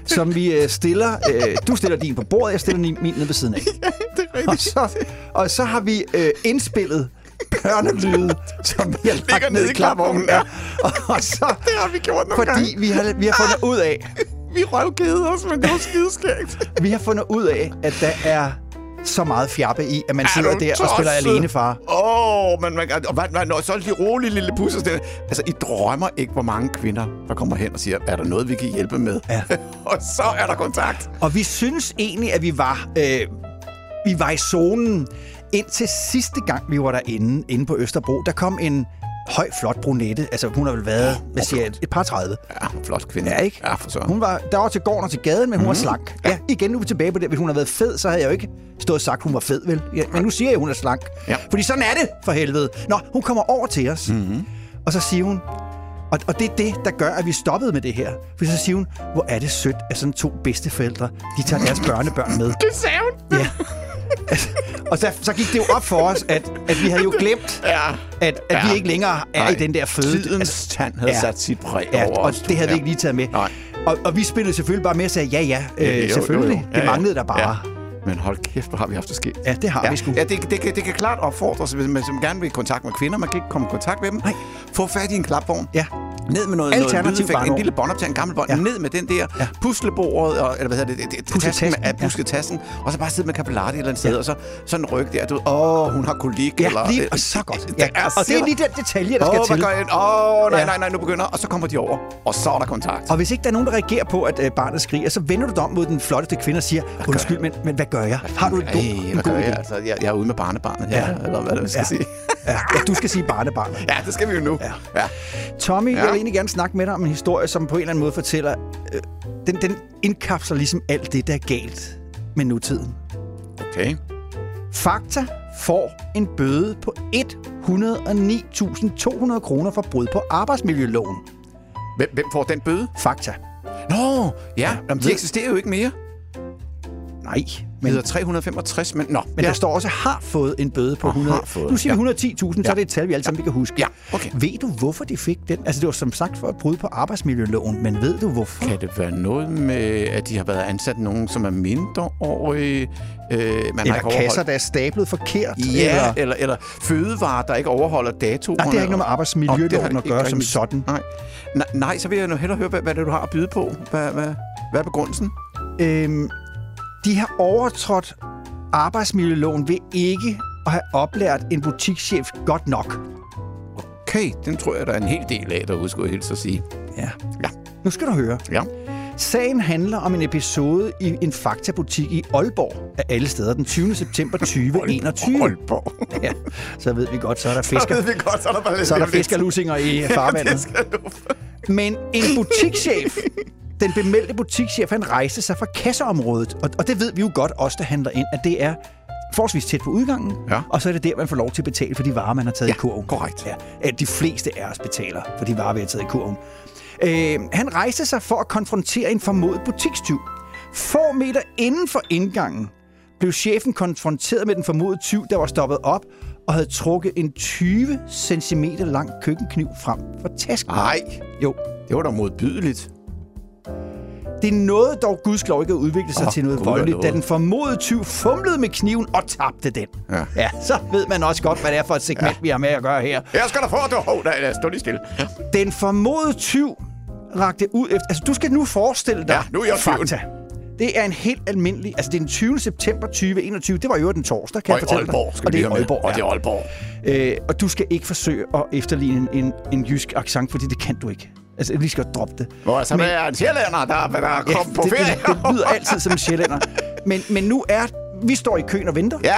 Speaker 5: som vi øh, stiller, øh, du stiller din på bordet, jeg stiller din- min ned ved
Speaker 4: (laughs)
Speaker 5: siden af.
Speaker 4: det er
Speaker 5: Og så, og så har vi øh, indspillet børnelyde, som vi har
Speaker 4: Ligger
Speaker 5: lagt ned
Speaker 4: nede
Speaker 5: i
Speaker 4: i klapvognen,
Speaker 5: klapvognen.
Speaker 4: ja.
Speaker 5: Ja. Og, og så,
Speaker 4: (laughs) Det har vi gjort nogle
Speaker 5: fordi
Speaker 4: gange. Ah.
Speaker 5: vi har, vi har fundet ud af,
Speaker 4: Vi røvkede os, men det var skideskægt.
Speaker 5: vi har fundet ud af, at der er så meget fjappe i, at man sidder der og spiller alene, far.
Speaker 4: Åh, oh, men man, og hvad, hvad, nå, så lige rolig, lille pusser. Altså, I drømmer ikke, hvor mange kvinder, der kommer hen og siger, er der noget, vi kan hjælpe med?
Speaker 5: Ja.
Speaker 4: (laughs) og så er der kontakt.
Speaker 5: Og vi synes egentlig, at vi var, øh, vi var i zonen. Indtil sidste gang, vi var derinde, inde på Østerbro, der kom en høj, flot brunette. Altså, hun har vel været, hvad siger jeg, et par 30.
Speaker 4: Ja, flot kvinde.
Speaker 5: Ja, ikke?
Speaker 4: Ja, for Mhm. så.
Speaker 5: Hun var, der var til gården og til gaden, men hun mm. var slank. Ja. igen nu er vi tilbage på det. Hvis hun havde været fed, så havde jeg jo ikke stået og sagt, hun var fed, vel? Ja, men nu siger jeg, hun er slank.
Speaker 4: Ja.
Speaker 5: Fordi sådan er det, for helvede. Nå, hun kommer over til os,
Speaker 4: Mhm.
Speaker 5: mm-hmm. og så siger hun, og, og det er det, der gør, at vi stoppede med det her. For så siger hun, hvor er det sødt, at sådan to bedsteforældre, de tager deres børnebørn med.
Speaker 4: Det sagde hun.
Speaker 5: Ja. Altså, og så, så gik det jo op for os, at, at vi havde jo glemt,
Speaker 4: Ja.
Speaker 5: at, at ja. vi ikke længere er
Speaker 4: Nej.
Speaker 5: i den der føde. altså,
Speaker 4: Tidens tand havde sat sit præg over
Speaker 5: og
Speaker 4: os.
Speaker 5: det havde
Speaker 4: Ja.
Speaker 5: vi ikke lige taget med.
Speaker 4: Nej.
Speaker 5: Og, og vi spillede selvfølgelig bare med og sagde, ja, ja, øh,
Speaker 4: jo, jo,
Speaker 5: selvfølgelig.
Speaker 4: jo.
Speaker 5: Det
Speaker 4: Ja, ja.
Speaker 5: manglede der bare.
Speaker 4: Ja. Men hold kæft, hvor har vi haft det skidt.
Speaker 5: Ja, det har
Speaker 4: ja.
Speaker 5: vi sgu.
Speaker 4: Ja, det, det, kan, det kan klart opfordres, hvis man som gerne vil i kontakt med kvinder. Man kan ikke komme i kontakt med dem. Nej. Få fat i en klapvogn.
Speaker 5: Ja.
Speaker 4: Ned med noget,
Speaker 5: Alternativ
Speaker 4: noget lydeffekt, en
Speaker 5: barnevogn.
Speaker 4: lille båndoptager, en gammel bånd. Ja. Ned med den der ja. puslebordet, og, eller hvad hedder det, det, det
Speaker 5: Pusletasken,
Speaker 4: tasken med, af
Speaker 5: ja.
Speaker 4: pusketassen, og så bare sidde med kappelati et eller andet sted, og så sådan en ryg der, du ved, åh, hun har kolik,
Speaker 5: Ja,
Speaker 4: eller...
Speaker 5: lige- og så godt.
Speaker 4: Ja,
Speaker 5: Ja, og det er lige den detalje, der skal
Speaker 4: åh,
Speaker 5: til.
Speaker 4: Åh, åh, nej,
Speaker 5: Ja.
Speaker 4: nej, nej, nu begynder, og så kommer de over, og så er der kontakt.
Speaker 5: Og hvis ikke der er nogen, der reagerer på, at øh, barnet skriger, så vender du dig om mod den flotteste kvinde og siger, undskyld, men, men hvad gør jeg? Har du en god,
Speaker 4: Ej,
Speaker 5: en
Speaker 4: hvad
Speaker 5: god
Speaker 4: gør jeg?
Speaker 5: idé?
Speaker 4: Altså, jeg, jeg er ude med barnebarnet her, ja. eller hvad det skal
Speaker 5: Ja.
Speaker 4: ja. sige.
Speaker 5: Ja, ja, du skal sige barnebarnet.
Speaker 4: Ja, det skal vi jo nu. Ja. ja.
Speaker 5: Tommy, ja.
Speaker 4: Ja.
Speaker 5: jeg vil egentlig gerne snakke med dig om en historie, som på en eller anden måde fortæller, øh, den, den indkapsler ligesom alt det, der er galt med nutiden.
Speaker 4: Okay.
Speaker 5: Fakta får en bøde på 109.200 kroner for brud på arbejdsmiljøloven.
Speaker 4: Hvem, hvem får den bøde?
Speaker 5: Fakta.
Speaker 4: Nå, ja. Jamen,
Speaker 5: ved-
Speaker 4: de eksisterer jo ikke mere.
Speaker 5: Nej,
Speaker 4: Men...
Speaker 5: men,
Speaker 4: Hedder 365, men... Nå,
Speaker 5: men ja. der står også, har fået en bøde på 100.
Speaker 4: har fået,
Speaker 5: Nu siger vi
Speaker 4: ja.
Speaker 5: 110.000, så er det et tal, vi alle sammen kan huske.
Speaker 4: Ja, okay.
Speaker 5: Ved du, hvorfor de fik den? Altså, det var som sagt for at bryde på arbejdsmiljøloven, men ved du, hvorfor?
Speaker 4: Kan det være noget med, at de har været ansat nogen, som er mindreårige? Øh, man har
Speaker 5: Eller
Speaker 4: ikke overholdt...
Speaker 5: kasser, der er stablet forkert?
Speaker 4: Ja,
Speaker 5: eller...
Speaker 4: eller, eller fødevarer, der ikke overholder datoerne.
Speaker 5: Nej, det har ikke noget med
Speaker 4: Nå, det har det
Speaker 5: arbejdsmiljøloven at
Speaker 4: ikke
Speaker 5: gøre som
Speaker 4: rigtigt.
Speaker 5: sådan.
Speaker 4: Nej. nej, nej, så vil jeg nu hellere høre, hvad, hvad det er, du har at byde på. Hvad, hvad, hvad er begrundelsen?
Speaker 5: Øhm, de har overtrådt arbejdsmiljøloven ved ikke at have oplært en butikschef godt nok.
Speaker 4: Okay, den tror jeg, der er en hel del af derude, skulle jeg hilse at sige.
Speaker 5: Ja.
Speaker 4: Ja.
Speaker 5: Nu skal du høre.
Speaker 4: Ja.
Speaker 5: Sagen handler om en episode i en faktabutik i Aalborg af alle steder den
Speaker 4: (laughs)
Speaker 5: 20. september 2021.
Speaker 4: Aalborg.
Speaker 5: Ja, så ved vi godt, så er der fisker.
Speaker 4: (laughs) Så ved vi godt, så er der bare lidt...
Speaker 5: Så er der fiskerlusinger i
Speaker 4: (laughs) Ja, det
Speaker 5: farvandet.
Speaker 4: skal du.
Speaker 5: Men en
Speaker 4: (laughs)
Speaker 5: butikschef, den bemeldte butikschef, han rejste sig fra kasseområdet. Og, og det ved vi jo godt, os der handler ind, at det er forholdsvis tæt på udgangen.
Speaker 4: Ja.
Speaker 5: Og så er det der, man får lov til at betale for de varer, man har taget
Speaker 4: Ja,
Speaker 5: i kurven.
Speaker 4: korrekt.
Speaker 5: Ja, at de fleste af os betaler for de varer, vi har taget i kurven. Øh, han rejste sig for at konfrontere en formodet butikstyv. Få meter inden for indgangen blev chefen konfronteret med den formodede tyv, der var stoppet op og havde trukket en 20 cm lang køkkenkniv frem fra tasken.
Speaker 4: Nej,
Speaker 5: Jo.
Speaker 4: det var da modbydeligt.
Speaker 5: Det nåede dog gudskelov ikke at udvikle sig
Speaker 4: Åh,
Speaker 5: oh, til noget
Speaker 4: Gud,
Speaker 5: voldeligt,
Speaker 4: hvor
Speaker 5: da
Speaker 4: nåede.
Speaker 5: den formodede tyv fumlede med kniven og tabte den.
Speaker 4: Ja.
Speaker 5: ja så ved man også godt, hvad det er for et segment, ja. vi har med at gøre her.
Speaker 4: Jeg skal da få, du... Hov, nej, nej, stå lige stille. Ja.
Speaker 5: Den formodede tyv rakte ud efter... Altså, du skal nu forestille dig...
Speaker 4: Ja, nu er jeg tyven.
Speaker 5: fakta. Det er en helt almindelig... Altså, det er den 20. september 2021. Det var jo den torsdag, kan
Speaker 4: Og
Speaker 5: jeg
Speaker 4: i
Speaker 5: fortælle
Speaker 4: Aalborg,
Speaker 5: dig.
Speaker 4: skal vi lige have med. Og
Speaker 5: ja.
Speaker 4: det er Aalborg.
Speaker 5: Øh, og du skal ikke forsøge at efterligne en, en, en jysk accent, fordi det kan du ikke. Altså, jeg lige skal droppe det.
Speaker 4: Hvor så
Speaker 5: Men-
Speaker 4: men, er en sjællænder, der, der er kommet på
Speaker 5: det,
Speaker 4: ferie.
Speaker 5: det, det lyder altid som en sjællænder. Men, men nu er... Vi står i køen og venter.
Speaker 4: Ja,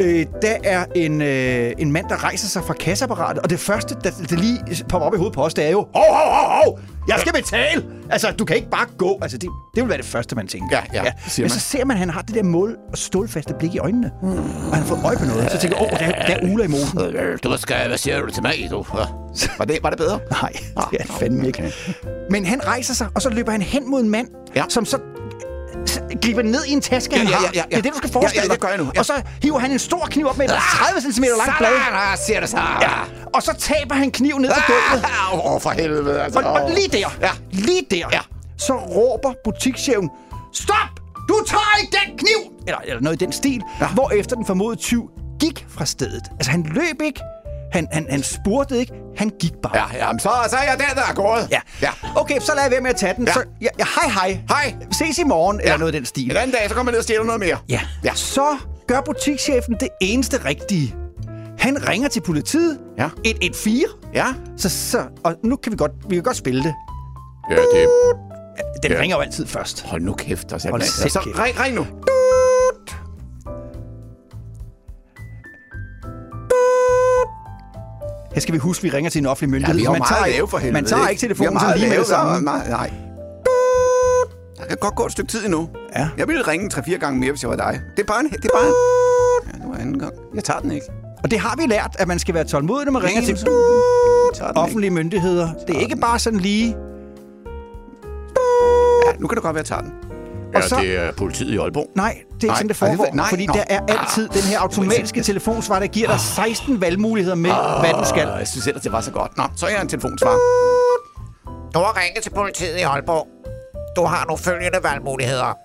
Speaker 5: Øh, der er en, øh, en mand, der rejser sig fra kasseapparatet, og det første, der, der lige popper op i hovedet på os, det er jo, hov, hov, hov, hov, jeg skal betale! Altså, du kan ikke bare gå. Altså, det, det vil være det første, man tænker.
Speaker 4: Ja, ja, siger
Speaker 5: Men
Speaker 4: man.
Speaker 5: så ser man, at han har det der mål og stålfaste blik i øjnene. Mm. Og han har fået øje på noget, så tænker jeg, åh, oh, der, der er uler i mosen.
Speaker 4: Øh, Du skal, hvad siger du til mig, du? Ja. Var det, var det bedre?
Speaker 5: Nej, (laughs) det er han fandme ikke. Men han rejser sig, og så løber han hen mod en mand, ja.
Speaker 4: Ja.
Speaker 5: som så så griber ned i en taske,
Speaker 4: Ja,
Speaker 5: han
Speaker 4: ja, ja,
Speaker 5: har.
Speaker 4: ja, ja.
Speaker 5: Det er det, du skal forestille
Speaker 4: Ja, ja, det
Speaker 5: dig.
Speaker 4: gør jeg nu, ja. Ah!
Speaker 5: Og så hiver han en stor kniv op med et 30 cm langt blad.
Speaker 4: Sådan, siger du så. Ja.
Speaker 5: Og så taber han kniven ned på gulvet.
Speaker 4: Ah! Åh, for helvede, altså.
Speaker 5: Og, og lige der,
Speaker 4: Ja.
Speaker 5: lige der,
Speaker 4: Ja.
Speaker 5: så råber butikschefen, stop! Du tager ikke den kniv! Eller, eller noget i den stil. Ja.
Speaker 4: Ja.
Speaker 5: Hvorefter den formodede tyv gik fra stedet. Altså, han løb ikke. Han, han, han spurtede ikke. Han gik bare.
Speaker 4: Ja, jamen, så, så er jeg der, der er gået.
Speaker 5: Ja.
Speaker 4: ja.
Speaker 5: Okay, så lad jeg være med at tage den. Ja.
Speaker 4: Ja.
Speaker 5: Så, ja, ja, hej, hej.
Speaker 4: Hej.
Speaker 5: Ses i morgen, ja. eller noget i den stil.
Speaker 4: En anden dag, så kommer jeg ned og stjæler noget mere.
Speaker 5: Ja.
Speaker 4: Ja.
Speaker 5: Så gør butikschefen det eneste rigtige. Han ringer til politiet.
Speaker 4: Ja.
Speaker 5: 114.
Speaker 4: Ja.
Speaker 5: Så, så, og nu kan vi godt, vi kan godt spille det.
Speaker 4: Ja, det...
Speaker 5: Den
Speaker 4: Ja.
Speaker 5: ringer jo altid først.
Speaker 4: Hold nu kæft, der er
Speaker 5: Hold selv
Speaker 4: Så
Speaker 5: kæft.
Speaker 4: ring, ring nu.
Speaker 5: Her skal vi huske, at vi ringer til en offentlig
Speaker 4: Ja,
Speaker 5: myndighed.
Speaker 4: vi
Speaker 5: så
Speaker 4: har
Speaker 5: man tager,
Speaker 4: meget
Speaker 5: ikke-
Speaker 4: lave for helvede.
Speaker 5: Man tager ikke telefonen sådan lige med det samme.
Speaker 4: Nej. Der kan godt gå et stykke tid endnu.
Speaker 5: Ja.
Speaker 4: Jeg ville ringe 3-4 gange mere, hvis jeg var dig. Det er bare en... Det er bare en... Ja, nu er anden gang. Jeg tager den ikke.
Speaker 5: Og det har vi lært, at man skal være tålmodig, når man ringer til
Speaker 4: tager den ikke.
Speaker 5: offentlige myndigheder. Det er ikke bare sådan lige...
Speaker 4: Ja, nu kan det godt være, at jeg tager den.
Speaker 5: Og så-
Speaker 4: er politiet i Aalborg.
Speaker 5: Nej, det er ikke
Speaker 4: Nej,
Speaker 5: sådan, det
Speaker 4: nej, det ved-
Speaker 5: foregår.
Speaker 4: nej,
Speaker 5: fordi
Speaker 4: nå. Ah,
Speaker 5: der er altid den her automatiske telefonsvar, der giver dig 16 valgmuligheder med, hvad du skal.
Speaker 4: Og Ah, jeg synes ellers, det var så godt. Nå, så er jeg en telefonsvar.
Speaker 15: Du har ringet til politiet i Aalborg. Du har nu følgende valgmuligheder.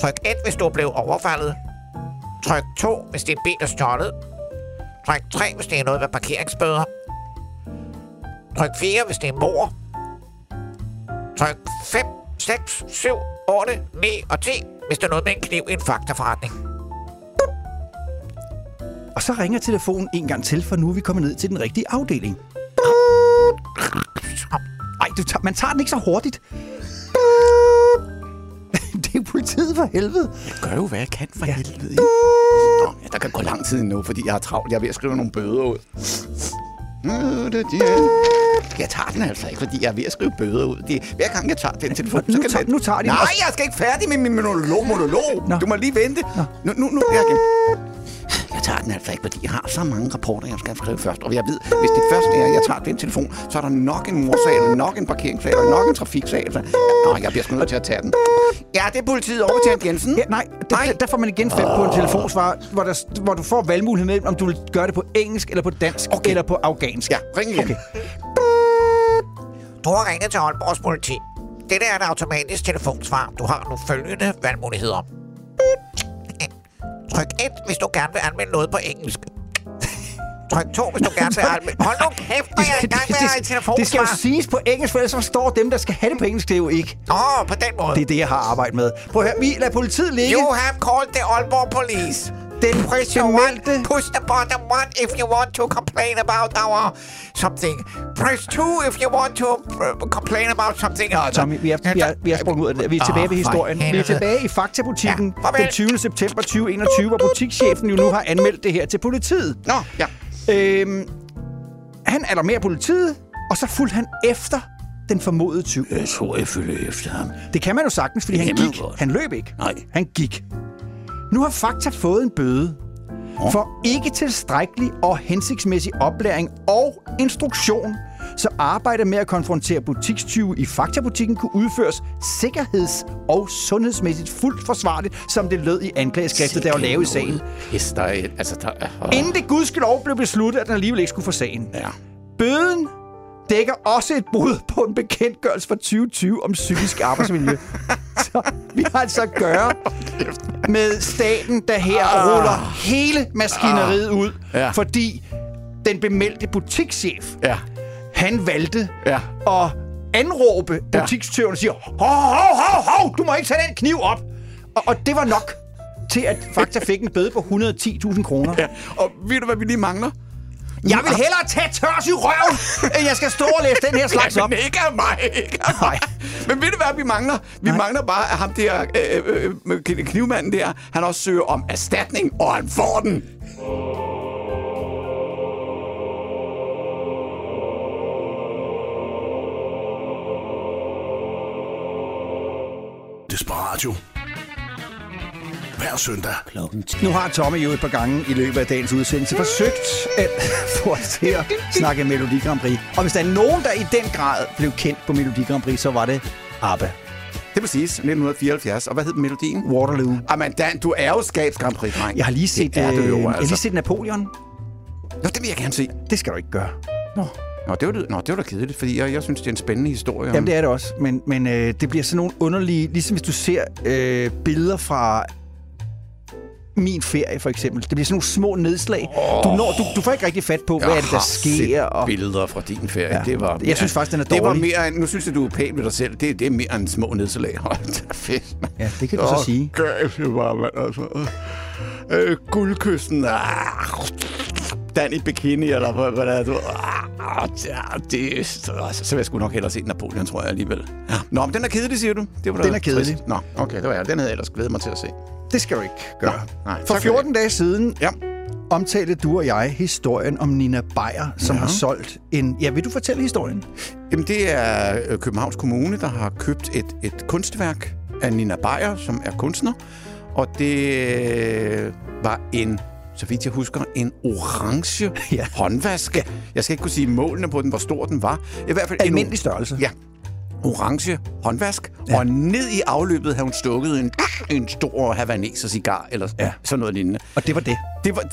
Speaker 15: Tryk 1, hvis du blev overfaldet. Tryk 2, hvis din bil er stjålet. Tryk 3, hvis det er noget med parkeringsbøder. Tryk 4, hvis det er mor. Tryk 5, 6, 7, 8, 9 og 10, hvis der er noget med en kniv i en faktaforretning.
Speaker 5: Og så ringer telefonen en gang til, for nu er vi kommet ned til den rigtige afdeling. Ej, du tager, man tager den ikke så hurtigt. (laughs) Det er politiet for helvede.
Speaker 4: Jeg gør jo, hvad jeg kan for ja. helvede. ikke? Nå, ja, der kan gå lang tid endnu, fordi jeg har travlt. Jeg er ved at skrive nogle bøder ud. Øh, det- det- Jeg tager den altså ikke, fordi jeg er ved at skrive bøder ud. Det, hver gang jeg tager den telefon, så
Speaker 5: Nu
Speaker 4: kan
Speaker 5: tager-
Speaker 4: den...
Speaker 5: nu tager de den
Speaker 4: Nej,
Speaker 5: også.
Speaker 4: jeg skal ikke færdig med min monolog. monolog. Du må lige vente. Nu, nu, nu. Jeg, jeg tager den altså ikke, fordi jeg har så mange rapporter, jeg skal skrive først. Og jeg ved, hvis det første er, at jeg tager den telefon, så er der nok en morsag, eller nok en parkeringssag, eller nok en trafiksag. Altså. Nå, jeg bliver sgu nødt til at tage den. Ja, det er politiet overbetjent Jensen. Ja,
Speaker 5: nej, der, nej. Der får man igen fem på en telefonsvar, hvor, der, hvor du får valgmuligheden mellem, om du vil gøre det på engelsk, eller på dansk, okay. eller på afghansk. Ja,
Speaker 4: ring igen.
Speaker 5: Okay.
Speaker 15: Du har ringet til Aalborgs politi. Det er et automatisk telefonsvar. Du har nu følgende valgmuligheder. (laughs) Tryk 1, hvis du gerne vil anmelde noget på engelsk. (laughs) Tryk 2, hvis du gerne vil anmelde... Hold nu kæft, hvor jeg er i gang med at have et telefonsvar.
Speaker 5: (laughs) det skal jo siges på engelsk, for ellers forstår dem, der skal have det på engelsk, det er jo ikke.
Speaker 15: Åh, på den måde.
Speaker 5: Det er det, jeg har arbejdet med. Prøv at høre, vi lader politiet ligge.
Speaker 15: You have called the Aalborg police.
Speaker 5: Den
Speaker 15: Press your one, push the button one if you want to complain about our something. Press two if you want to uh, complain about something else.
Speaker 5: Tommy, vi er, vi er, vi er sprunget ud af det. Vi er
Speaker 15: Åh,
Speaker 5: tilbage ved
Speaker 15: for
Speaker 5: historien. Vi er
Speaker 15: helvede.
Speaker 5: tilbage i Faktabutikken
Speaker 15: Ja, farvel.
Speaker 5: den 20. september 2021, hvor butikschefen jo nu har anmeldt det her til politiet. Nå,
Speaker 4: ja.
Speaker 5: Øhm, han alarmerer politiet, og så fulgte han efter den formodede tyv.
Speaker 16: Jeg tror, jeg følger efter ham.
Speaker 5: Det kan man jo sagtens, fordi
Speaker 16: Det
Speaker 5: han
Speaker 16: kan man
Speaker 5: gik.
Speaker 16: godt.
Speaker 5: Han løb ikke.
Speaker 16: Nej.
Speaker 5: Han gik. Nu har Fakta fået en bøde for ikke tilstrækkelig og hensigtsmæssig oplæring og instruktion, så arbejdet med at konfrontere butikstyve i Faktabutikken kunne udføres sikkerheds- og sundhedsmæssigt fuldt forsvarligt, som det lød i anklageskriftet, der var lavet i sagen.
Speaker 4: Yes, der er, altså, der er,
Speaker 5: Inden det gudskelov blev besluttet, at den alligevel ikke skulle for sagen. Ja. Bøden dækker også et brud på en bekendtgørelse fra 2020 om
Speaker 4: (laughs)
Speaker 5: psykisk arbejdsmiljø. så vi har altså at gøre med staten, der her
Speaker 4: Ah.
Speaker 5: ruller hele maskineriet
Speaker 4: Ah.
Speaker 5: ud,
Speaker 4: Ja.
Speaker 5: fordi den bemeldte butikschef, ja. han valgte ja. at anråbe butikstøven og sige, hov, hov, hov, hov, du må ikke tage den kniv op. Og, og det var nok til, at Fakta fik en bøde på 110.000 kroner. Ja.
Speaker 4: Og ved du, hvad vi lige mangler?
Speaker 5: Jeg vil hellere tage tørs i røven, end jeg skal stå og læse den her slags op.
Speaker 4: Jamen, ikke af mig, ikke af mig. Men ved du hvad, vi mangler? Vi Nej. mangler bare, at ham der, øh, øh, øh, knivmanden der, han også søger om erstatning, og han får den.
Speaker 1: Desperatio. Hver søndag. Klokken
Speaker 5: Nu har Tommy jo et par gange i løbet af dagens udsendelse forsøgt at (laughs) få os til at snakke Melodi Grand Prix. Og hvis der er nogen, der i den grad blev kendt på Melodi Grand Prix, så var det ABBA.
Speaker 4: Det er præcis, 1974. Og hvad hed melodien?
Speaker 5: Waterloo.
Speaker 4: Jamen, Dan, du er jo skabs Grand Prix, dreng.
Speaker 5: Jeg har lige set,
Speaker 4: det er
Speaker 5: øh,
Speaker 4: det jo,
Speaker 5: jeg
Speaker 4: altså.
Speaker 5: har lige set Napoleon.
Speaker 4: Nå, det vil jeg gerne se.
Speaker 5: Det skal du ikke gøre.
Speaker 4: Nå, det var, da- nå, det var da kedeligt, fordi jeg, jeg synes, det er en spændende historie. om-
Speaker 5: Jamen, det er det også. Men, men øh, det bliver sådan nogle underlige... Ligesom hvis du ser øh, billeder fra min ferie, for eksempel. Det bliver sådan nogle små nedslag. Oh. Du, når, du, du får ikke rigtig fat på, hvad er det, der
Speaker 4: har
Speaker 5: sker.
Speaker 4: set billeder fra din ferie.
Speaker 5: Ja.
Speaker 4: Ja. Det var,
Speaker 5: Jeg synes faktisk, den er
Speaker 4: Det var
Speaker 5: dårlig.
Speaker 4: mere, end- nu synes jeg, du er pæn ved dig selv. Det, det er mere end små nedslag. (laughs) Hold da fedt, mand.
Speaker 5: Ja, det kan du så
Speaker 4: Åh,
Speaker 5: sige.
Speaker 4: Gæft, det var, mand, altså. Øh, guldkysten. Ah, Dan i bikini, eller hvad, hvad der er du? Ah, ja, det, så, altså, så vil jeg sgu nok hellere se Napoleon, tror jeg alligevel. Ja. Nå, men den er kedelig, siger du? Det var da
Speaker 5: Den er kedelig.
Speaker 4: trist. Nå, okay, det var jeg. Den havde jeg ellers glædet mig til at se.
Speaker 5: Det skal du ikke gøre. Nå,
Speaker 4: nej,
Speaker 5: For
Speaker 4: tak for
Speaker 5: 14 dage siden ja. omtalte du og jeg historien om Nina Beyer, som ja. har solgt en... Ja, vil du fortælle historien?
Speaker 4: Jamen, det er øh, Københavns Kommune, der har købt et, et kunstværk af Nina Beyer, som er kunstner. Og det øh, var en, så vidt jeg husker, en orange ja. håndvask. Ja. Jeg skal ikke kunne sige målene på den, hvor stor den var. I hvert fald
Speaker 5: Almindelig
Speaker 4: en,
Speaker 5: størrelse.
Speaker 4: Ja. Orange håndvask. Ja. Og ned i afløbet havde hun stukket en, en stor havaneser cigar, eller ja. sådan noget lignende.
Speaker 5: Og det var det.
Speaker 4: Det var det.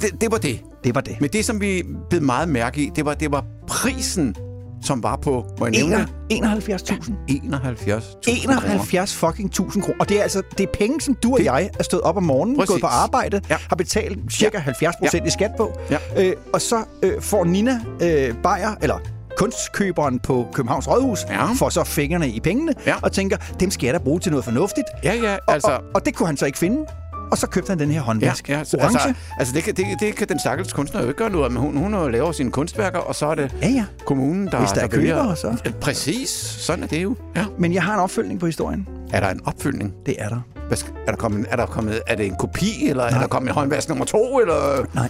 Speaker 4: det, det, var det.
Speaker 5: Det var det.
Speaker 4: Men det, som vi blev meget mærke i, det var, det var prisen som var på, må jeg nævne det?
Speaker 5: 71.000.
Speaker 4: 71.
Speaker 5: 71 fucking 1000 kroner. Og det er altså det er penge, som du og jeg er stået op om morgenen, Præcis.
Speaker 4: Præcis.
Speaker 5: gået på arbejde, ja. har betalt cirka 70 procent ja. i skat på. Ja. Øh, og så øh, får Nina øh, Bayer, eller kunstkøberen på Københavns Rådhus, ja. får så fingrene i pengene ja. og tænker, dem skal jeg da bruge til noget fornuftigt.
Speaker 4: Ja, ja,
Speaker 5: altså... Og, og, og det kunne han så ikke finde. Og så købte han den her håndvask.
Speaker 4: Ja, ja, så-
Speaker 5: Orange.
Speaker 4: Altså, altså det, kan, det, det kan den stakkels kunstner jo ikke gøre noget af, men hun, hun laver sine kunstværker, og så er det
Speaker 5: ja, ja.
Speaker 4: kommunen, der
Speaker 5: Hvis der er
Speaker 4: vælger-
Speaker 5: købere, så.
Speaker 4: Ja, Præcis, sådan er det jo. Ja.
Speaker 5: Men jeg har en opfølgning på historien.
Speaker 4: Er der en opfølgning?
Speaker 5: Det er der.
Speaker 4: Hvad skal- Er, der kommet, er, der kommet, er det en kopi, eller er der kommet en håndvask nummer to? Eller,
Speaker 5: Nej,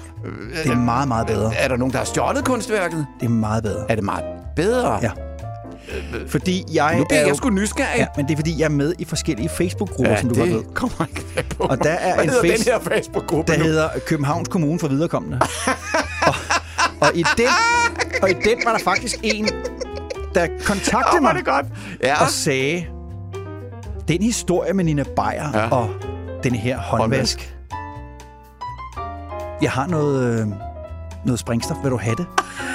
Speaker 5: det er meget, meget bedre.
Speaker 4: Er der nogen, der har stjålet kunstværket?
Speaker 5: Det er meget bedre.
Speaker 4: Er det meget bedre?
Speaker 5: Ja. Fordi jeg
Speaker 4: Nu bliver
Speaker 5: er
Speaker 4: jeg
Speaker 5: jo-
Speaker 4: sgu nysgerrig.
Speaker 5: Ja, men det er fordi, jeg er med i forskellige Facebook-grupper,
Speaker 4: Ja,
Speaker 5: som du
Speaker 4: det
Speaker 5: godt ved.
Speaker 4: kommer ikke på.
Speaker 5: Og der er
Speaker 4: Hvad
Speaker 5: en
Speaker 4: hedder
Speaker 5: face-
Speaker 4: den her Facebook-gruppe
Speaker 5: der
Speaker 4: nu?
Speaker 5: hedder Københavns Kommune for viderekommende. og, og, i den, og i den var der faktisk en, der kontaktede oh, mig det
Speaker 4: godt.
Speaker 5: Ja. og sagde, den historie med Nina Beyer ja. og den her håndvask. Jeg har noget, øh, noget springstof. Vil du have det?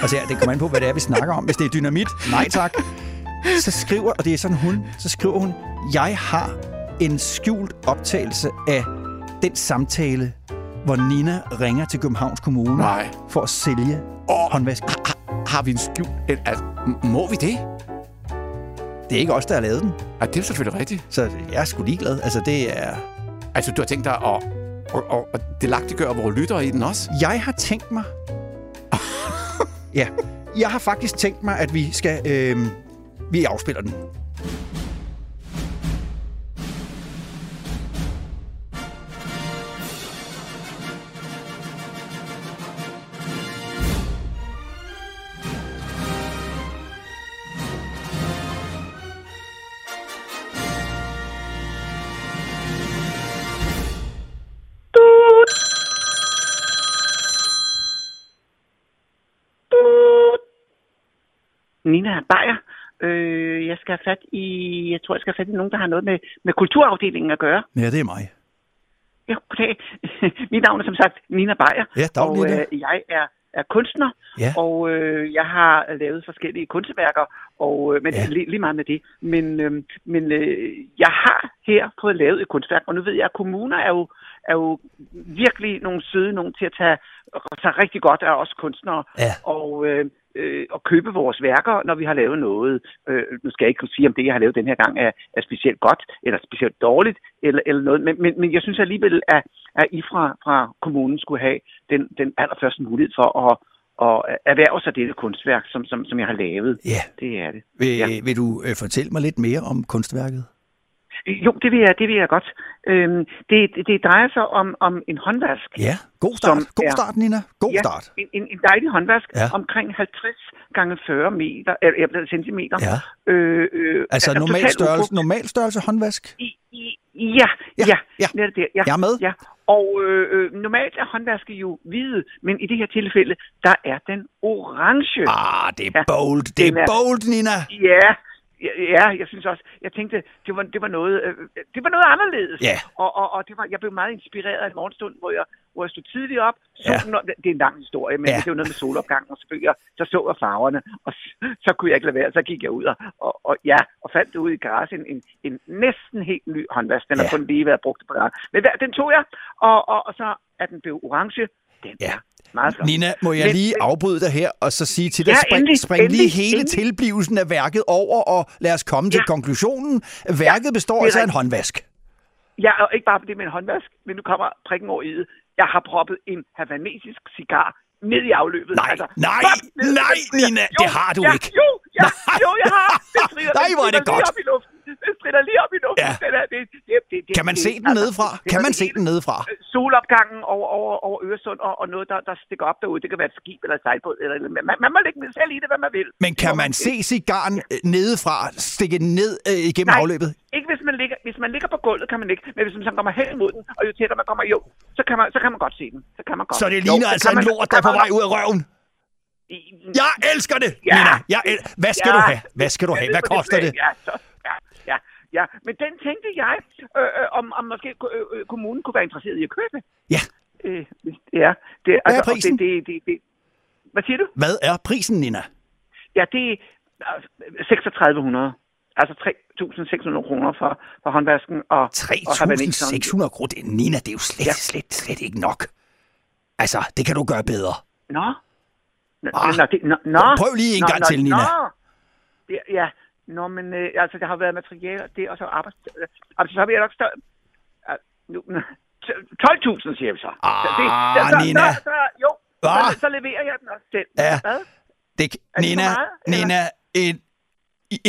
Speaker 5: Altså, ja, det kommer an på, hvad det er, vi snakker om. Hvis det er dynamit, nej tak. Så skriver, og det er sådan hun, så skriver hun, jeg har en skjult optagelse af den samtale, hvor Nina ringer til Københavns Kommune
Speaker 4: Nej.
Speaker 5: for at sælge oh. håndvask.
Speaker 4: Har vi en skjult... en- Altså, m- må vi det?
Speaker 5: Det er ikke os, der har lavet den.
Speaker 4: Ej, det er selvfølgelig rigtigt.
Speaker 5: Så jeg er sgu ligeglad. Altså, det er...
Speaker 4: Altså, du har tænkt dig at, og, og, og delagtiggøre vores lyttere i den også?
Speaker 5: Jeg har tænkt mig... ja. Jeg har faktisk tænkt mig, at vi skal... Øh, vi afspiller den.
Speaker 17: Øh, Nina Bayer. Øh, jeg skal have fat i, jeg tror, jeg skal have fat i nogen, der har noget med, med kulturafdelingen at gøre.
Speaker 5: Ja, det er mig.
Speaker 17: Ja, goddag. (laughs) Mit navn er som sagt Nina Bayer.
Speaker 5: Ja, dag,
Speaker 17: og
Speaker 5: Nina.
Speaker 17: øh, jeg er, er kunstner,
Speaker 5: Ja.
Speaker 17: og øh, jeg har lavet forskellige kunstværker, og, øh, men ja. lige, lige meget med det. Men, øh, men øh, jeg har her fået lavet et kunstværk, og nu ved jeg, at kommuner er jo, er jo virkelig nogle søde nogen til at tage sig rigtig godt af os kunstnere.
Speaker 5: Ja.
Speaker 17: Og, øh, øh, og købe vores værker, når vi har lavet noget. Øh, nu skal jeg ikke kunne sige, om det, jeg har lavet den her gang, er, er specielt godt, eller specielt dårligt, eller, eller noget. Men, men, men jeg synes alligevel, at, at I fra, fra kommunen skulle have den, den allerførste mulighed for at, at erhverve sig dette kunstværk, som, som, som jeg har lavet.
Speaker 5: Ja.
Speaker 17: Det er det.
Speaker 5: Vil, ja. vil du øh, fortælle mig lidt mere om kunstværket?
Speaker 17: Jo, det vil jeg, det vil jeg godt. Øhm, det, det, det drejer sig om, om en håndvask.
Speaker 5: Ja, god start.
Speaker 17: Som
Speaker 5: God
Speaker 17: er-
Speaker 5: start, Nina. God
Speaker 17: ja,
Speaker 5: start.
Speaker 17: En, en, en dejlig håndvask
Speaker 5: Ja.
Speaker 17: ja. omkring 50 gange 40 meter, eller, eller centimeter.
Speaker 5: Ja.
Speaker 17: Øh, øh,
Speaker 5: Altså normal
Speaker 17: totalt
Speaker 5: størrelse,
Speaker 17: ubrugt.
Speaker 5: normal størrelse håndvask?
Speaker 17: Ja, ja, ja.
Speaker 5: ja.
Speaker 17: Netop det, ja.
Speaker 5: Jeg er med.
Speaker 17: Ja. Og øh, øh, normalt er håndvaske jo hvide, men i det her tilfælde, der er den orange.
Speaker 5: Ah, det er bold. Det er bold, Nina.
Speaker 17: Ja, ja, ja, jeg synes også, jeg tænkte, det var, det var, noget, øh, det var noget anderledes.
Speaker 5: Ja.
Speaker 17: Og, og, og det var, jeg blev meget inspireret af en morgenstund, hvor jeg, hvor jeg stod tidligt op. Så, ja. når, det er en lang historie, men
Speaker 5: Ja.
Speaker 17: ja. det var noget med solopgang og spøger. Så så jeg farverne, og så, så kunne jeg ikke lade være. Så gik jeg ud og, og, og, ja, og fandt ud i græs en, en, en næsten helt ny håndvask. Den ja. har kun lige været brugt på græs. Men hvad- den tog jeg, og, og, og så er den blevet orange. Den ja. er meget flot.
Speaker 5: Nina, må jeg
Speaker 17: Men-
Speaker 5: lige afbryde dig her, og så sige til dig,
Speaker 17: Ja,
Speaker 5: spring,
Speaker 17: endelig,
Speaker 5: spring lige
Speaker 17: endelig,
Speaker 5: hele
Speaker 17: endelig.
Speaker 5: tilblivelsen af værket over, og lad os komme ja. til konklusionen. Værket ja, består
Speaker 17: det er
Speaker 5: altså af en
Speaker 17: rigtigt.
Speaker 5: håndvask.
Speaker 17: Ja, og ikke bare fordi med en håndvask, men nu kommer prikken over i det. Jeg har proppet en havanesisk cigar ned i afløbet. Altså,
Speaker 5: Nej, nej, nej, Nina, det har du
Speaker 17: ja,
Speaker 5: ikke.
Speaker 17: Jo, ja, jo, jeg har.
Speaker 5: (laughs)
Speaker 17: Det strider,
Speaker 5: Nej,
Speaker 17: den
Speaker 5: hvor er det
Speaker 17: strider lige
Speaker 5: godt.
Speaker 17: Op i luften. Det strider lige op i luften.
Speaker 5: Ja.
Speaker 17: Den er, det, det, det, det,
Speaker 5: Kan man
Speaker 17: det-
Speaker 5: se den
Speaker 17: altså,
Speaker 5: nedefra?
Speaker 17: det-
Speaker 5: Kan
Speaker 17: det-
Speaker 5: man se den nedefra?
Speaker 17: solopgangen over, over, over Øresund og, og noget, der, der stikker op derude. Det kan være et skib eller et sejlbåd. Eller, eller, man, man må lægge den selv i det, hvad man vil.
Speaker 5: Men kan man se cigaren øh, nedefra stikke ned øh, igennem
Speaker 17: Nej.
Speaker 5: afløbet?
Speaker 17: Ikke hvis man ligger, hvis man ligger på gulvet, kan man ikke. Men hvis man sådan kommer hen mod den, og jo tættere man kommer, jo, så kan man, så kan man godt se den. Så kan man godt.
Speaker 5: Så det
Speaker 17: Jo,
Speaker 5: ligner
Speaker 17: så
Speaker 5: altså
Speaker 17: kan
Speaker 5: en
Speaker 17: man-
Speaker 5: lort,
Speaker 17: så
Speaker 5: der er
Speaker 17: kan
Speaker 5: på
Speaker 17: man
Speaker 5: vej
Speaker 17: godt-
Speaker 5: ud af røven. Jeg elsker det,
Speaker 17: Ja.
Speaker 5: Nina. Jeg el- Hvad skal
Speaker 17: Ja.
Speaker 5: du have? Hvad skal du have? Hvad
Speaker 17: Det er
Speaker 5: koster det?
Speaker 17: Ja, så, ja, ja, ja. Men den tænkte jeg, øh, øh, om, om måske øh, øh, kommunen kunne være interesseret i at købe.
Speaker 5: Ja.
Speaker 17: Øh, ja. Det, altså,
Speaker 5: Hvad er
Speaker 17: og
Speaker 5: prisen?
Speaker 17: Det, det, det, det. Hvad siger du?
Speaker 5: Hvad er prisen, Nina?
Speaker 17: Ja, det 3600. Altså 3.600 kroner for, for håndvasken og, og habaneseren.
Speaker 5: 3.600 kroner, det, Nina, det er jo slet, ja. slet, slet ikke nok. Altså, det kan du gøre bedre. Ah.
Speaker 17: Nå. Nå, nå, det, nå, nå.
Speaker 5: Prøv lige en
Speaker 17: nå,
Speaker 5: gang
Speaker 17: nå,
Speaker 5: til, Nina.
Speaker 17: Nå. Det, ja, nå, men øh, altså, der har været materialer, det, og så arbejds... Øh, altså, så har vi nok større... Øh, nu- (laughs) 12.000, siger vi så. Ah, det,
Speaker 5: Ah, Nina.
Speaker 17: Så, så, jo,
Speaker 5: Ah.
Speaker 17: så, så leverer jeg den også selv.
Speaker 5: Ja.
Speaker 17: Hvad?
Speaker 5: Det,
Speaker 17: Er det for
Speaker 5: Nina,
Speaker 17: meget,
Speaker 5: Nina et,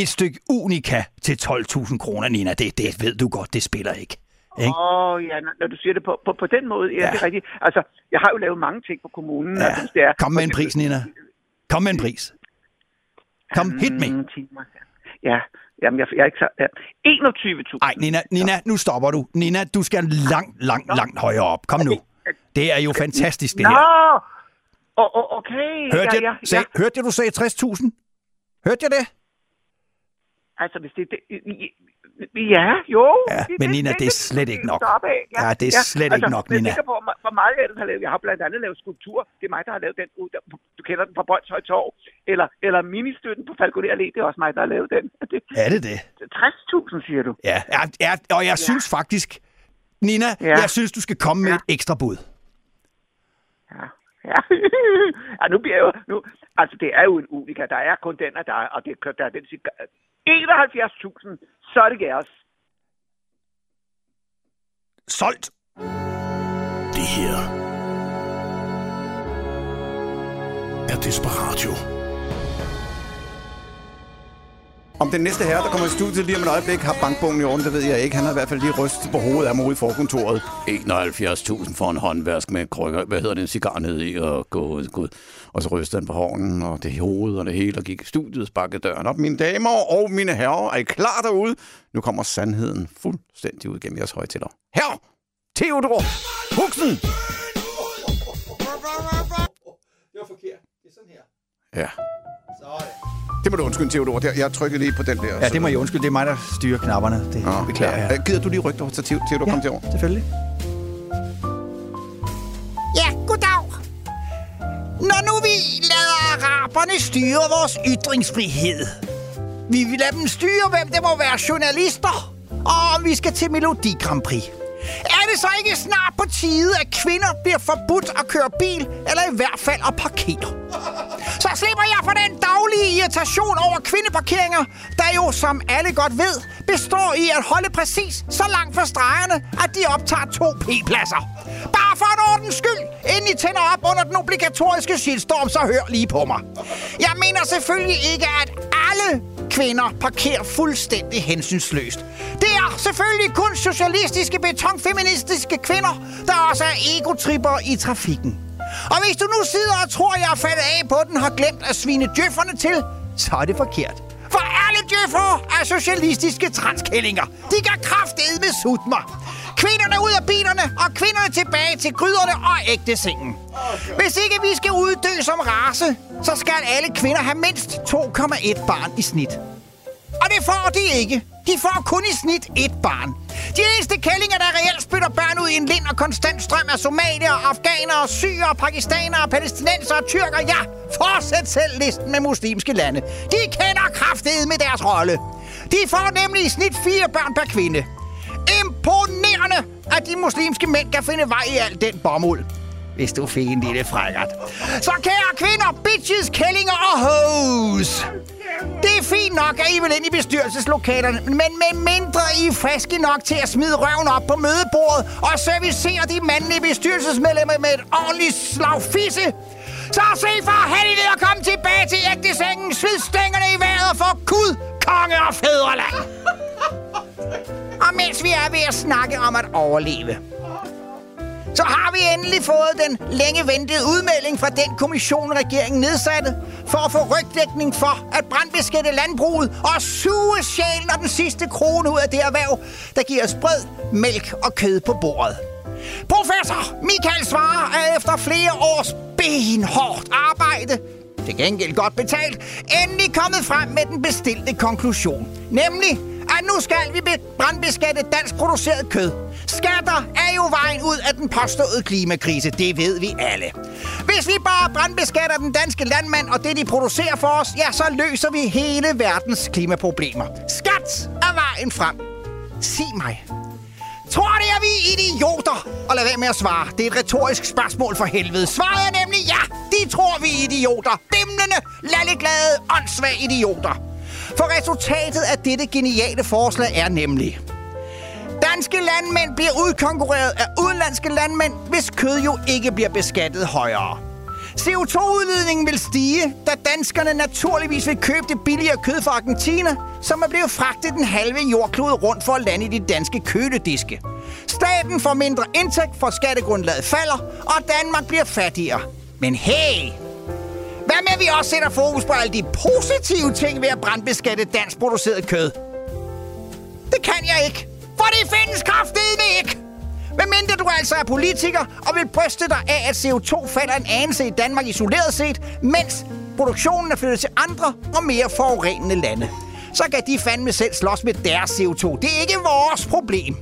Speaker 5: et stykke unika til 12.000 kroner, Nina. Det, det ved du godt, det spiller ikke. ikke?
Speaker 17: Åh, oh, ja, når- når du siger det på, på, på den måde, ja, ja, det er rigtigt. Altså, jeg har jo lavet mange ting for kommunen. Ja. Altså, det er,
Speaker 5: Kom med en pris, Nina. Kom med en pris. Kom, hit me.
Speaker 17: Øhm, Ja, jamen, jeg, jeg er ikke så... Ja. 21.000.
Speaker 5: Nej, Nina, Nina, nu stopper du. Nina, du skal langt, langt, langt højere op. Kom nu. Det er jo fantastisk, det
Speaker 17: Nå!
Speaker 5: her.
Speaker 17: Oh, oh, okay.
Speaker 5: Hørte
Speaker 17: ja,
Speaker 5: jeg,
Speaker 17: ja, ja.
Speaker 5: sag, hørte jeg du sagde 60.000? Hørte jeg det?
Speaker 17: Altså, hvis det... det ja, jo.
Speaker 5: Ja,
Speaker 17: det-
Speaker 5: men
Speaker 17: det-
Speaker 5: Nina,
Speaker 17: det-
Speaker 5: det er slet ikke nok.
Speaker 17: stoppe af. Altså,
Speaker 5: Ja, det er slet ikke nok,
Speaker 17: men Jeg
Speaker 5: Nina.
Speaker 17: tænker på, hvor- hvor meget jeg ellers har lavet. Jeg har blandt andet lavet skulptur. Det er mig, der har lavet den. ud- der- Du kender den fra Brøndshøj Torv. Eller, eller ministøtten på Falconer Allé. Det er også mig, der har lavet den. (laughs) Det,
Speaker 5: Er det det?
Speaker 17: 60.000, siger du?
Speaker 5: Ja, ja, ja og jeg ja. synes faktisk, Nina, ja. jeg synes, du skal komme med et ekstra bud.
Speaker 17: Ja. ja, nu bliver jeg jo... Nu, altså, det er jo en unika. Der er kun den af dig, og det, der er den... cigar- 71.000, så er det gæres.
Speaker 5: Solgt!
Speaker 1: Det her er Desperatio.
Speaker 4: Om den næste herre, der kommer i studiet lige om et øjeblik, har bankbogen i orden, det ved jeg ikke. Han har i hvert fald lige rystet på hovedet af mig ude i forkontoret.
Speaker 16: 71.000 for en håndvask med krykker. Hvad hedder den cigar ned i? Og, gud, gud.
Speaker 4: Og så rystede han på hånden, og det i hovedet og det hele, og gik i studiet og sparkede døren op. Mine damer og mine herrer, er I klar derude? Nu kommer sandheden fuldstændig ud gennem jeres højtaler. Her, Theodor Huxen!
Speaker 5: Det var forkert. Det er sådan her.
Speaker 4: Ja. Det må du undskylde, Theodor. Der- Jeg trykkede lige på den der.
Speaker 5: Ja, det må jeg undskylde. Det er mig, der styrer knapperne. Det ja, beklager jeg.
Speaker 4: Gider du lige rykke dig over til Theo- Theodor? Ja, kom til over.
Speaker 5: selvfølgelig.
Speaker 11: Ja, goddag. Når nu vi lader araberne styre vores ytringsfrihed, vi vil lade dem styre, hvem det må være journalister, og om vi skal til Melodi Grand Prix. Er det så ikke snart på tide, at kvinder bliver forbudt at køre bil, eller i hvert fald at parkere? Så slipper jeg for den daglige irritation over kvindeparkeringer, der jo, som alle godt ved, består i at holde præcis så langt fra stregerne, at de optager to p-pladser. Bare for en ordens skyld, inden I tænder op under den obligatoriske shitstorm, så hør lige på mig. Jeg mener selvfølgelig ikke, at alle kvinder parkerer fuldstændig hensynsløst. Det er selvfølgelig kun socialistiske, betonfeministiske kvinder, der også er egotripper i trafikken. Og hvis du nu sidder og tror, jeg er faldet af på den, har glemt at svine djøfferne til, så er det forkert. For alle djøffere er socialistiske transkællinger. De kan kraftedme sutte mig. Kvinderne ud af bilerne, og kvinderne tilbage til gryderne og ægtesengen. Hvis ikke vi skal uddø som race, så skal alle kvinder have mindst 2,1 barn i snit. Og det får de ikke. De får kun i snit et barn. De eneste kællinger, der reelt spytter børn ud i en lind og konstant strøm af somalier, afghanere, syre, pakistanere, palæstinenser og tyrker, ja, fortsæt selv listen med muslimske lande. De kender kraftedet med deres rolle. De får nemlig i snit fire børn per kvinde. Imponerende, at de muslimske mænd kan finde vej i al den bomuld. Hvis du fik en lille frækkert. Så kære kvinder, bitches, kællinger og hoes. Det er fint nok, at I vil ind i bestyrelseslokalerne, men med mindre I er friske nok til at smide røven op på mødebordet og servicere de mandlige bestyrelsesmedlemmer med et ordentligt slag fisse, så se for helvede at komme tilbage til ægtesengen, smid stængerne i vejret for Gud, konge og fædreland. Og mens vi er ved at snakke om at overleve, så har vi endelig fået den længe ventede udmelding fra den kommission, regeringen nedsatte, for at få rygdækning for at brandbeskætte landbruget og suge sjælen og den sidste krone ud af det erhverv, der giver os brød, mælk og kød på bordet. Professor Michael Svarer er efter flere års benhårdt arbejde til gengæld godt betalt, endelig kommet frem med den bestilte konklusion. Nemlig, at nu skal vi be- brandbeskatte dansk produceret kød. Skatter er jo vejen ud af den påståede klimakrise, det ved vi alle. Hvis vi bare brandbeskatter den danske landmand og det, de producerer for os, ja, så løser vi hele verdens klimaproblemer. Skat er vejen frem. Sig mig, Tror det, at vi er idioter? Og lad være med at svare. Det er et retorisk spørgsmål for helvede. Svaret er nemlig ja. De tror, vi er idioter. Bimlende, lalleglade, åndssvage idioter. For resultatet af dette geniale forslag er nemlig... Danske landmænd bliver udkonkurreret af udenlandske landmænd, hvis kød jo ikke bliver beskattet højere. CO2-udledningen vil stige, da danskerne naturligvis vil købe det billigere kød fra Argentina, som er blevet fragtet den halve jordklode rundt for at lande i de danske kølediske. Staten får mindre indtægt, for skattegrundlaget falder, og Danmark bliver fattigere. Men hey, hvad med, at vi også sætter fokus på alle de positive ting ved at brandbeskatte dansk produceret kød? Det kan jeg ikke, for det findes kraftedeme ikke! Medmindre du altså er politiker og vil bryste dig af, at CO2 falder en anelse i Danmark isoleret set, mens produktionen er flyttet til andre og mere forurenende lande. Så kan de fandme selv slås med deres CO2. Det er ikke vores problem.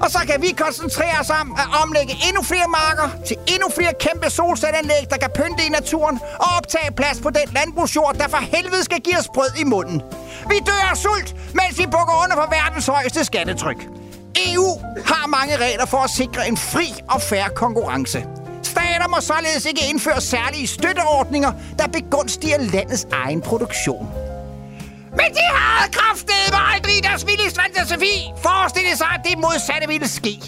Speaker 11: Og så kan vi koncentrere os om at omlægge endnu flere marker til endnu flere kæmpe solcelleanlæg, der kan pynte i naturen og optage plads på den landbrugsjord, der for helvede skal give os brød i munden. Vi dør af sult, mens vi bukker under for verdens højeste skattetryk. EU har mange regler for at sikre en fri og færre konkurrence. Stater må således ikke indføre særlige støtteordninger, der begunstiger landets egen produktion. Men de har kraftedeme aldrig i deres vildeste fantasi forestillet sig, at det modsatte ville ske.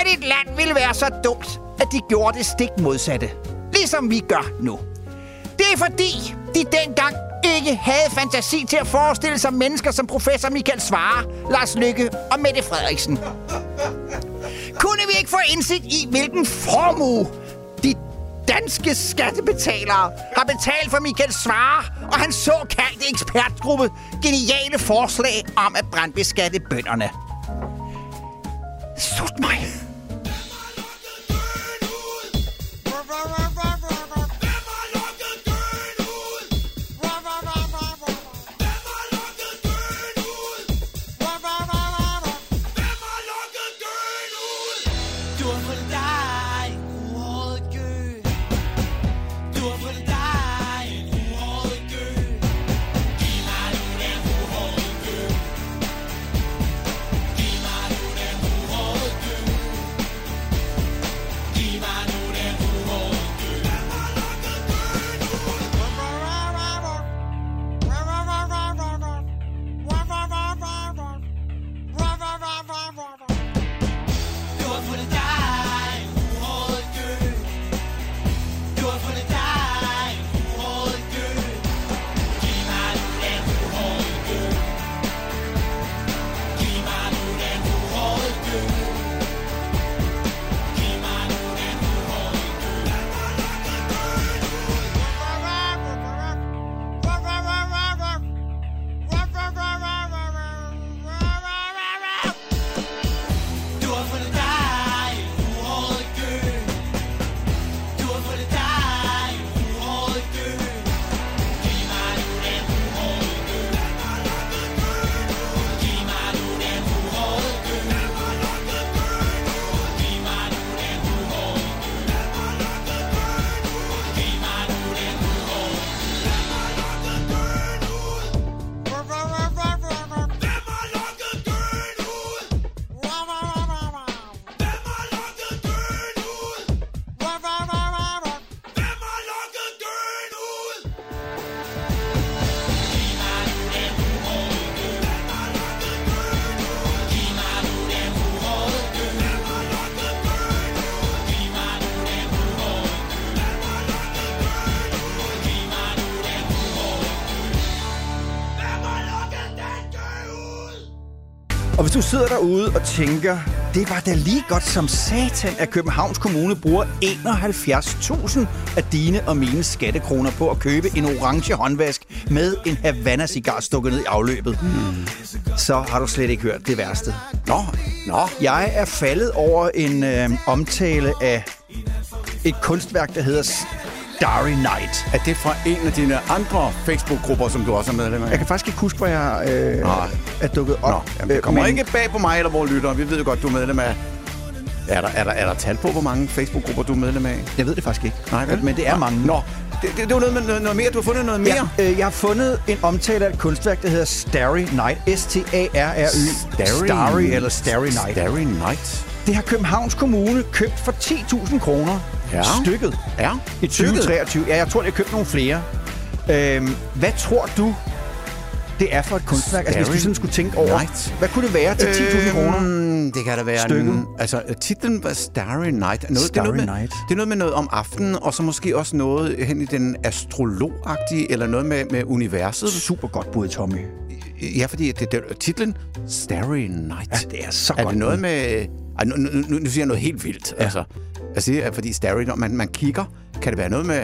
Speaker 11: At et land ville være så dumt, at de gjorde det stik modsatte. Ligesom vi gør nu. Det er fordi, de dengang ikke havde fantasi til at forestille sig mennesker som professor Michael Svare, Lars Lykke og Mette Frederiksen. Kunne vi ikke få indsigt i, hvilken formue de danske skattebetalere har betalt for Michael Svare og hans såkaldte ekspertgruppe geniale forslag om at brandbeskatte bønderne? Sut mig!
Speaker 5: Og hvis du sidder derude og tænker, det var da lige godt som satan, at Københavns Kommune bruger 71.000 af dine og mine skattekroner på at købe en orange håndvask med en Havana-cigar stukket ned i afløbet. Hmm. Så har du slet ikke hørt det værste. Nå, nå. Jeg er faldet over en øh, omtale af et kunstværk, der hedder S- Starry Night.
Speaker 4: Er det fra en af dine andre Facebook-grupper, som du også er medlem af?
Speaker 10: Jeg kan faktisk ikke huske, hvor jeg øh,
Speaker 4: Nej.
Speaker 10: er dukket op.
Speaker 4: Nå, jamen, det
Speaker 10: Øh,
Speaker 4: kommer
Speaker 10: men-
Speaker 4: ikke bag på mig eller vores lyttere. Vi ved jo godt, du er medlem af... Er der, er, der, er der tal på, hvor mange Facebook-grupper du er medlem af?
Speaker 5: Jeg ved det faktisk ikke.
Speaker 4: Nej, vel?
Speaker 5: Men det er mange.
Speaker 4: Nå, det, det, det var noget, med noget, noget mere. Du har fundet noget mere.
Speaker 5: Ja, øh, jeg har fundet en omtale af et kunstværk, der hedder Starry Night. S-T-A-R-R-Y. Starry eller Starry Night.
Speaker 4: Starry Night.
Speaker 5: Det har Københavns Kommune købt for 10.000 kroner
Speaker 4: Ja.
Speaker 5: stykket
Speaker 4: Ja.
Speaker 5: i 2023. Ja, jeg tror, de har købt nogle flere. Øhm, hvad tror du, det er for et kunstværk? Altså, hvis du
Speaker 4: Starry
Speaker 5: sådan skulle tænke over,
Speaker 4: Night.
Speaker 5: hvad kunne det være til 10.000 kroner?
Speaker 4: Øhm, Det kan da være...
Speaker 5: Stykket.
Speaker 4: En, altså, titlen var Starry Night. Noget, det er noget
Speaker 5: Starry
Speaker 4: med,
Speaker 5: Night.
Speaker 4: Det er noget med noget om aftenen, og så måske også noget hen i den astrologagtige, eller noget med, med universet.
Speaker 5: Super godt bud, Tommy.
Speaker 4: Ja, fordi det, det, titlen Starry Night. Ja,
Speaker 5: det er så
Speaker 4: er
Speaker 5: godt
Speaker 4: det noget
Speaker 5: bud.
Speaker 4: med... Ej, nu, nu, nu, nu siger jeg noget helt vildt. Ja. Altså, jeg siger, at fordi Starry, når man, man kigger, kan det være noget med...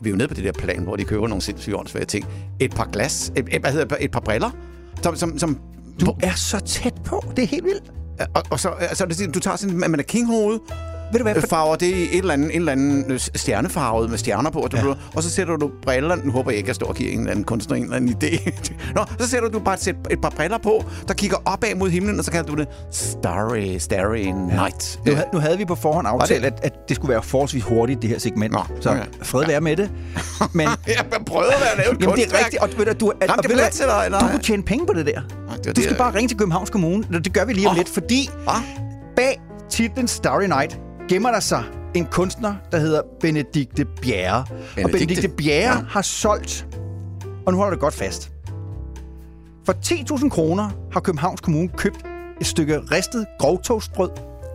Speaker 4: Vi er jo nede på det der plan, hvor de køber nogle sindssyge åndssvage ting. Et par glas, et, et, hvad hedder, det, et par briller, som... som, som
Speaker 5: Du er så tæt på. Det er helt vildt.
Speaker 4: og, og så, altså, det, siger, du tager sådan, at man er kinghoved,
Speaker 5: Ved du hvad?
Speaker 4: øh, farver det i et eller andet, en eller anden øh, stjernefarvet med stjerner på, og, du, ja. og så sætter du briller, nu håber jeg ikke, at jeg står og giver en eller anden kunstner en eller anden idé. (laughs) Nå, så sætter du bare et, sæt, et par briller på, der kigger opad mod himlen, og så kalder du det Starry, Starry Night.
Speaker 5: Nu, havde, nu havde vi på forhånd aftalt,
Speaker 4: Øh, Var
Speaker 5: at, at det skulle være forholdsvis hurtigt, det her segment. Nå, så
Speaker 4: okay.
Speaker 5: fred være
Speaker 4: (laughs)
Speaker 5: med det. Men,
Speaker 4: Jeg prøvede at være lave et
Speaker 5: jamen, det er
Speaker 4: kunstværk.
Speaker 5: rigtigt. Og ved du, du, at,
Speaker 4: Ramte
Speaker 5: og
Speaker 4: det
Speaker 5: ved du,
Speaker 4: plet til dig, eller?
Speaker 5: at, du kunne tjene penge på det der.
Speaker 4: det var
Speaker 5: du
Speaker 4: det,
Speaker 5: skal
Speaker 4: jeg-
Speaker 5: bare ringe til Københavns Kommune. og Det gør vi lige om lidt, fordi bag titlen Starry Night gemmer der sig en kunstner, der hedder Benedikte Bjerre. Og
Speaker 4: Benedikte?
Speaker 5: Benedikte Bjerre
Speaker 4: Ja.
Speaker 5: har solgt, og nu holder det godt fast, for 10.000 kroner har Københavns Kommune købt et stykke ristet grovtogsbrød,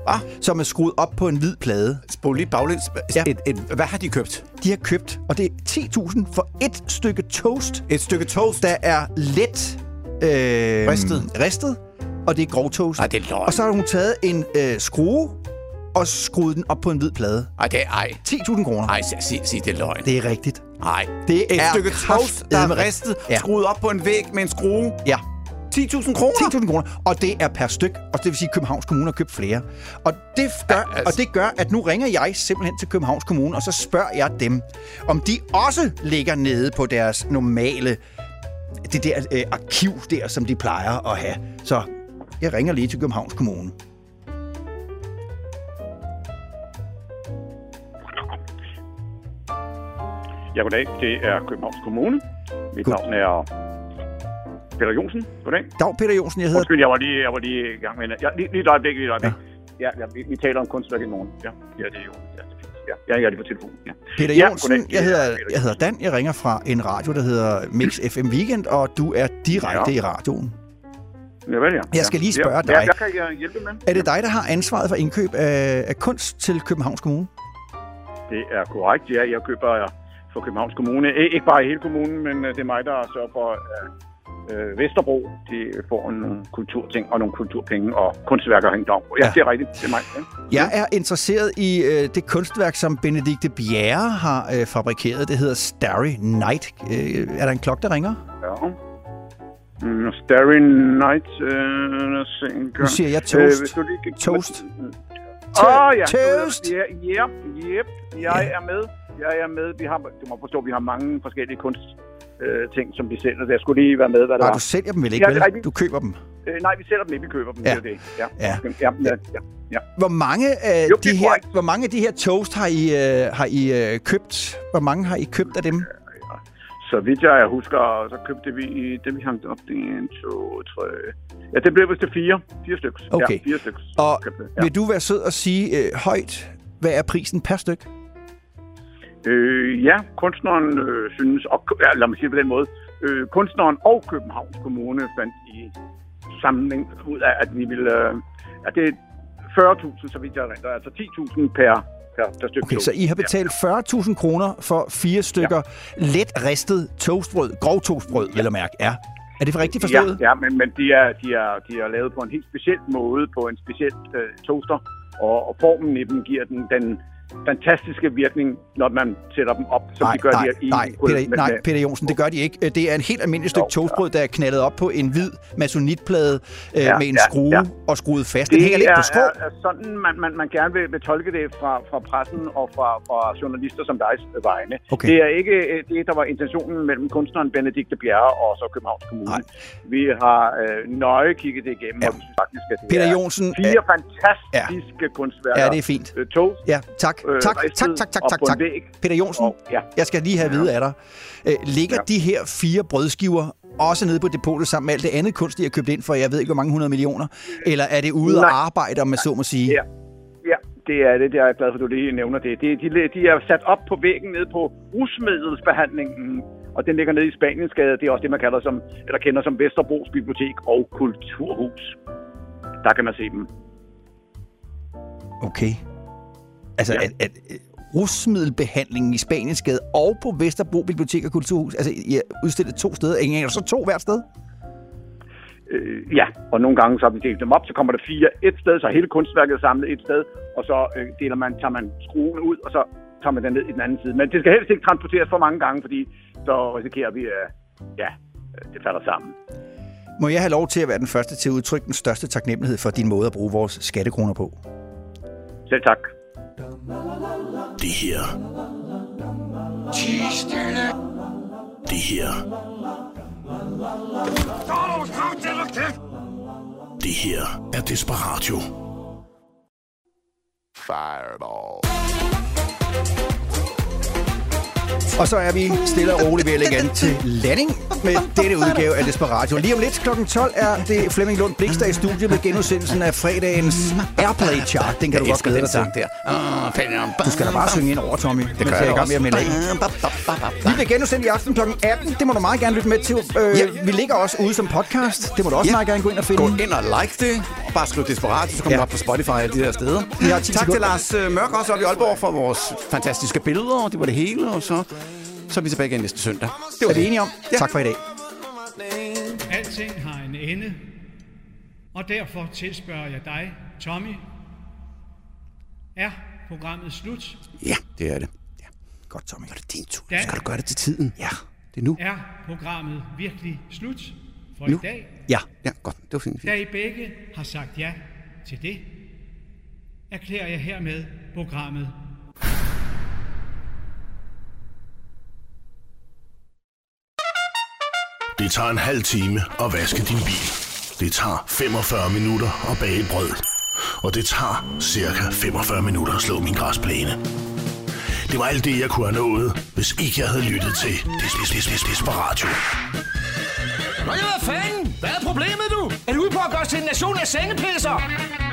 Speaker 4: ah.
Speaker 5: som er skruet op på en hvid plade.
Speaker 4: Spol lige baglæns. Ja. Et, et, hvad har de købt?
Speaker 5: De har købt, og det er 10.000 for et stykke toast.
Speaker 4: Et stykke toast?
Speaker 5: Der er let øh,
Speaker 4: Ristet.
Speaker 5: ristet, og det er grov toast.
Speaker 4: Ej, det er løgn.
Speaker 5: Og så har hun taget en øh, skrue og skruet den op på en hvid plade.
Speaker 4: Ej, det er ej.
Speaker 5: 10.000 kroner.
Speaker 4: Ej, sig, sig, sig det er løgn.
Speaker 5: Det er rigtigt.
Speaker 4: Nej.
Speaker 5: Det
Speaker 4: Et
Speaker 5: er
Speaker 4: stykke toast, der
Speaker 5: kraftedeme
Speaker 4: er
Speaker 5: rigtigt.
Speaker 4: ristet,
Speaker 5: Ja.
Speaker 4: ja. skruet op på en væg med en skrue.
Speaker 5: Ja.
Speaker 4: 10.000 kroner?
Speaker 5: 10.000 kroner, og det er per styk, og det vil sige, at Københavns Kommune har købt flere. Og det, gør,
Speaker 4: Ja, altså.
Speaker 5: og det gør, at nu ringer jeg simpelthen til Københavns Kommune, og så spørger jeg dem, om de også ligger nede på deres normale, det der øh, arkiv der, som de plejer at have. Så jeg ringer lige til Københavns Kommune.
Speaker 18: Ja, goddag. Det er Københavns Kommune. Mit
Speaker 5: God-
Speaker 18: navn er Peter Jonsen. Goddag.
Speaker 5: Dag, Peter Jonsen, jeg hedder...
Speaker 18: Undskyld, jeg var lige, jeg var lige i gang med... en- Ja, lige, lige et øjeblik, lige et øjeblik. Ja, ja, ja vi, vi, taler om kunstværk i morgen. Ja, ja det er jo. Ja, det er fint. Ja, ja, jeg er lige på telefonen. Ja.
Speaker 5: Peter
Speaker 18: ja,
Speaker 5: Jonsen, jeg hedder, jeg hedder Dan, jeg ringer fra en radio, der hedder Mix FM Weekend, og du er direkte
Speaker 18: Ja.
Speaker 5: i radioen.
Speaker 18: Ja, vel, ja.
Speaker 5: Jeg skal
Speaker 18: Ja.
Speaker 5: lige spørge
Speaker 18: Ja, ja,
Speaker 5: dig.
Speaker 18: jeg kan
Speaker 14: uh,
Speaker 18: jeg hjælpe med.
Speaker 5: Er det dig, der har ansvaret for indkøb af, af kunst til Københavns Kommune?
Speaker 18: Det er korrekt, ja. Jeg køber for Københavns Kommune. I- Ikke bare i hele kommunen, men øh, det er mig, der sørger for, at øh, Vesterbro de får nogle kulturting og nogle kulturpenge og kunstværker hængt om. Ja,
Speaker 5: Ja.
Speaker 18: ja, det er rigtigt. Det er mig. Ja.
Speaker 5: Jeg er interesseret i øh, det kunstværk, som Benedikte Bjerre har øh, fabrikeret. Det hedder Starry Night. Øh, er der en klokke, der ringer?
Speaker 18: Ja. Mm, Starry Night. Øh, lad os se en gang. Øh,
Speaker 5: Nu siger jeg toast.
Speaker 18: hvis du lige kan-
Speaker 5: Toast.
Speaker 18: Åh, ja.
Speaker 5: Toast.
Speaker 18: Ja, ja, yep. Jeg er med. Jeg er med. Vi har, du må forstå, vi har mange forskellige kunst øh, ting, som vi sælger. Så Jeg skulle lige være med, hvad det
Speaker 5: Nej,
Speaker 18: var.
Speaker 5: du sælger dem vel ikke,
Speaker 18: ja, det er
Speaker 5: vel?
Speaker 18: rigtigt.
Speaker 5: Du køber dem.
Speaker 18: Øh, nej, vi sælger dem ikke, vi køber dem.
Speaker 5: Ja.
Speaker 18: Det er det. Ja.
Speaker 5: Ja.
Speaker 18: ja, ja, ja. ja.
Speaker 5: Hvor mange af,
Speaker 18: Jo, det
Speaker 5: Øh, de,
Speaker 18: er
Speaker 5: her,
Speaker 18: korrekt.
Speaker 5: hvor mange af de her toast har I, øh, har I øh, købt? Hvor mange har I købt af dem?
Speaker 18: Så vidt jeg husker, så købte vi det, vi hang op. En, to, tre... Ja, det blev vist til fire. Fire stykker.
Speaker 5: Okay.
Speaker 18: Ja, fire stykker.
Speaker 5: Og
Speaker 18: købte, ja.
Speaker 5: vil du være sød og sige øh, højt, hvad er prisen per styk?
Speaker 18: Øh, ja, kunstneren øh, synes, og ja, lad mig sige det på den måde, øh, kunstneren og Københavns Kommune fandt i samling ud af, at vi ville... Øh, at det er 40.000, så vidt jeg erindrer. Altså 10.000 per, per, per stykke.
Speaker 5: Okay, så I har betalt 40.000 kroner for fire stykker ja. let ristet toastbrød, grov toastbrød, vil jeg mærke. Ja. Er det for rigtigt forstået?
Speaker 18: Ja, ja men, men de, er, de, er, de er lavet på en helt speciel måde, på en speciel øh, toaster, og, og formen i dem giver den, den fantastiske virkning, når man sætter dem op, som
Speaker 5: nej,
Speaker 18: de gør
Speaker 5: nej,
Speaker 18: her i
Speaker 5: nej,
Speaker 18: gulvet
Speaker 5: Peter,
Speaker 18: med-
Speaker 5: nej,
Speaker 18: med-
Speaker 5: Peter Jonsen, det gør de ikke. Øh, Det er en helt almindelig stykke toastbrød, der er knaldet op på en hvid masonitplade øh,
Speaker 18: Ja,
Speaker 5: med en
Speaker 18: ja,
Speaker 5: skrue
Speaker 18: ja.
Speaker 5: og skruet fast. Den hænger lidt på strå.
Speaker 18: er, er, er sådan, man, man, man gerne vil, vil tolke det fra, fra pressen og fra, fra journalister som dig vegne.
Speaker 5: Okay.
Speaker 18: Det er ikke øh, det, der var intentionen mellem kunstneren Benedikte Bjerre og så Københavns Kommune. Nej. Vi har øh, nøje kigget det igennem, ja. og vi synes faktisk, at det
Speaker 5: Peter
Speaker 18: er
Speaker 5: Jonsen,
Speaker 18: fire fantastiske ja. kunstværker.
Speaker 5: Ja, det er fint.
Speaker 18: Øh, Toast,
Speaker 5: Ja, tak.
Speaker 18: øh,
Speaker 5: tak,
Speaker 18: ristet
Speaker 5: tak, tak, tak,
Speaker 18: og
Speaker 5: tak,
Speaker 18: på en
Speaker 5: tak.
Speaker 18: væg.
Speaker 5: Peter Jonsen,
Speaker 18: ja.
Speaker 5: jeg skal lige have at vide af dig. Øh, ligger de her fire brødskiver også nede på depotet sammen med alt det andet kunst, de har købt ind for, jeg ved ikke, hvor mange hundrede millioner? Eller er det ude
Speaker 18: Nej.
Speaker 5: at arbejde, om man så må sige?
Speaker 18: Ja. Ja, det er det. Det er jeg glad for, at du lige nævner det. De, de, de er sat op på væggen nede på rusmiddelsbehandlingen, og den ligger nede i Spaniensgade. Det er også det, man kalder som, eller kender som Vesterbros Bibliotek og Kulturhus. Der kan man se dem.
Speaker 5: Okay. Altså, ja. at, at øh, rusmiddelbehandlingen i Spaniensgade og på Vesterbro Bibliotek og Kulturhus, altså, I er udstillet to steder. Ingen er så to hvert sted?
Speaker 18: Øh, ja, og nogle gange så har vi delt dem op, så kommer der fire et sted, så hele kunstværket er samlet et sted, og så øh, deler man, tager man skruen ud, og så tager man den ned i den anden side. Men det skal helst ikke transporteres for mange gange, fordi så risikerer vi, øh, ja, øh, det falder sammen.
Speaker 5: Må jeg have lov til at være den første til at udtrykke den største taknemmelighed for din måde at bruge vores skattekroner på?
Speaker 18: Selv tak.
Speaker 1: Det her. Det her. Det her er Desperatio. Fireball.
Speaker 5: Og så er vi stille og roligt ved at lægge an til landing med denne udgave af Desperatio. Lige om lidt kl. 12 er det Flemming Lund Blikster i studiet med genudsendelsen af fredagens Airplay Chart. Den kan du
Speaker 4: Jeg
Speaker 5: godt
Speaker 4: elsker
Speaker 5: glæde
Speaker 4: den
Speaker 5: dig til.
Speaker 4: sang der. Ah, fanden.
Speaker 5: Du skal da bare synge ind over, Tommy. Det
Speaker 4: gør jeg
Speaker 5: jeg, jeg
Speaker 4: da
Speaker 5: også. Med at vi bliver genudsendt i aften kl. 18. Det må du meget gerne lytte med til. Øh, ja. Vi ligger også ude som podcast. Det må du også
Speaker 4: Ja.
Speaker 5: meget gerne gå ind og finde.
Speaker 4: Gå ind og like det, og bare skriv Desperat, så kommer
Speaker 5: Ja.
Speaker 4: ja. op på Spotify og alle de der steder.
Speaker 5: Vi har
Speaker 4: tak
Speaker 5: ti
Speaker 4: til
Speaker 5: sekunder.
Speaker 4: Lars øh, Mørk også op i Aalborg for vores fantastiske billeder, og det var det hele, og så, så er vi tilbage igen næste søndag. Det var
Speaker 5: Er vi enige om?
Speaker 4: Ja.
Speaker 5: Tak for i dag.
Speaker 19: Alting har en ende, og derfor tilspørger jeg dig, Tommy. Er programmet slut?
Speaker 4: Ja, det er det. Ja.
Speaker 5: Godt, Tommy.
Speaker 4: Så er det din tur.
Speaker 19: Ja.
Speaker 4: Ja. Skal du gøre det til tiden? Ja. Det er nu.
Speaker 19: Er programmet virkelig slut for
Speaker 4: nu.
Speaker 19: i dag?
Speaker 4: Ja. Ja, godt. Det var fint.
Speaker 19: Da I begge har sagt ja til det, erklærer jeg hermed programmet
Speaker 1: Det tager en halv time at vaske din bil. Det tager 45 minutter at bage et brød. Og det tager cirka 45 minutter at slå min græsplæne. Det var alt det, jeg kunne have nået, hvis ikke jeg havde lyttet til Des- Des- Des- Desperatio.
Speaker 3: Nå ja, hvad fanden? Hvad er problemet, du? Er du ude på at gøre os til en nation af sengepisser?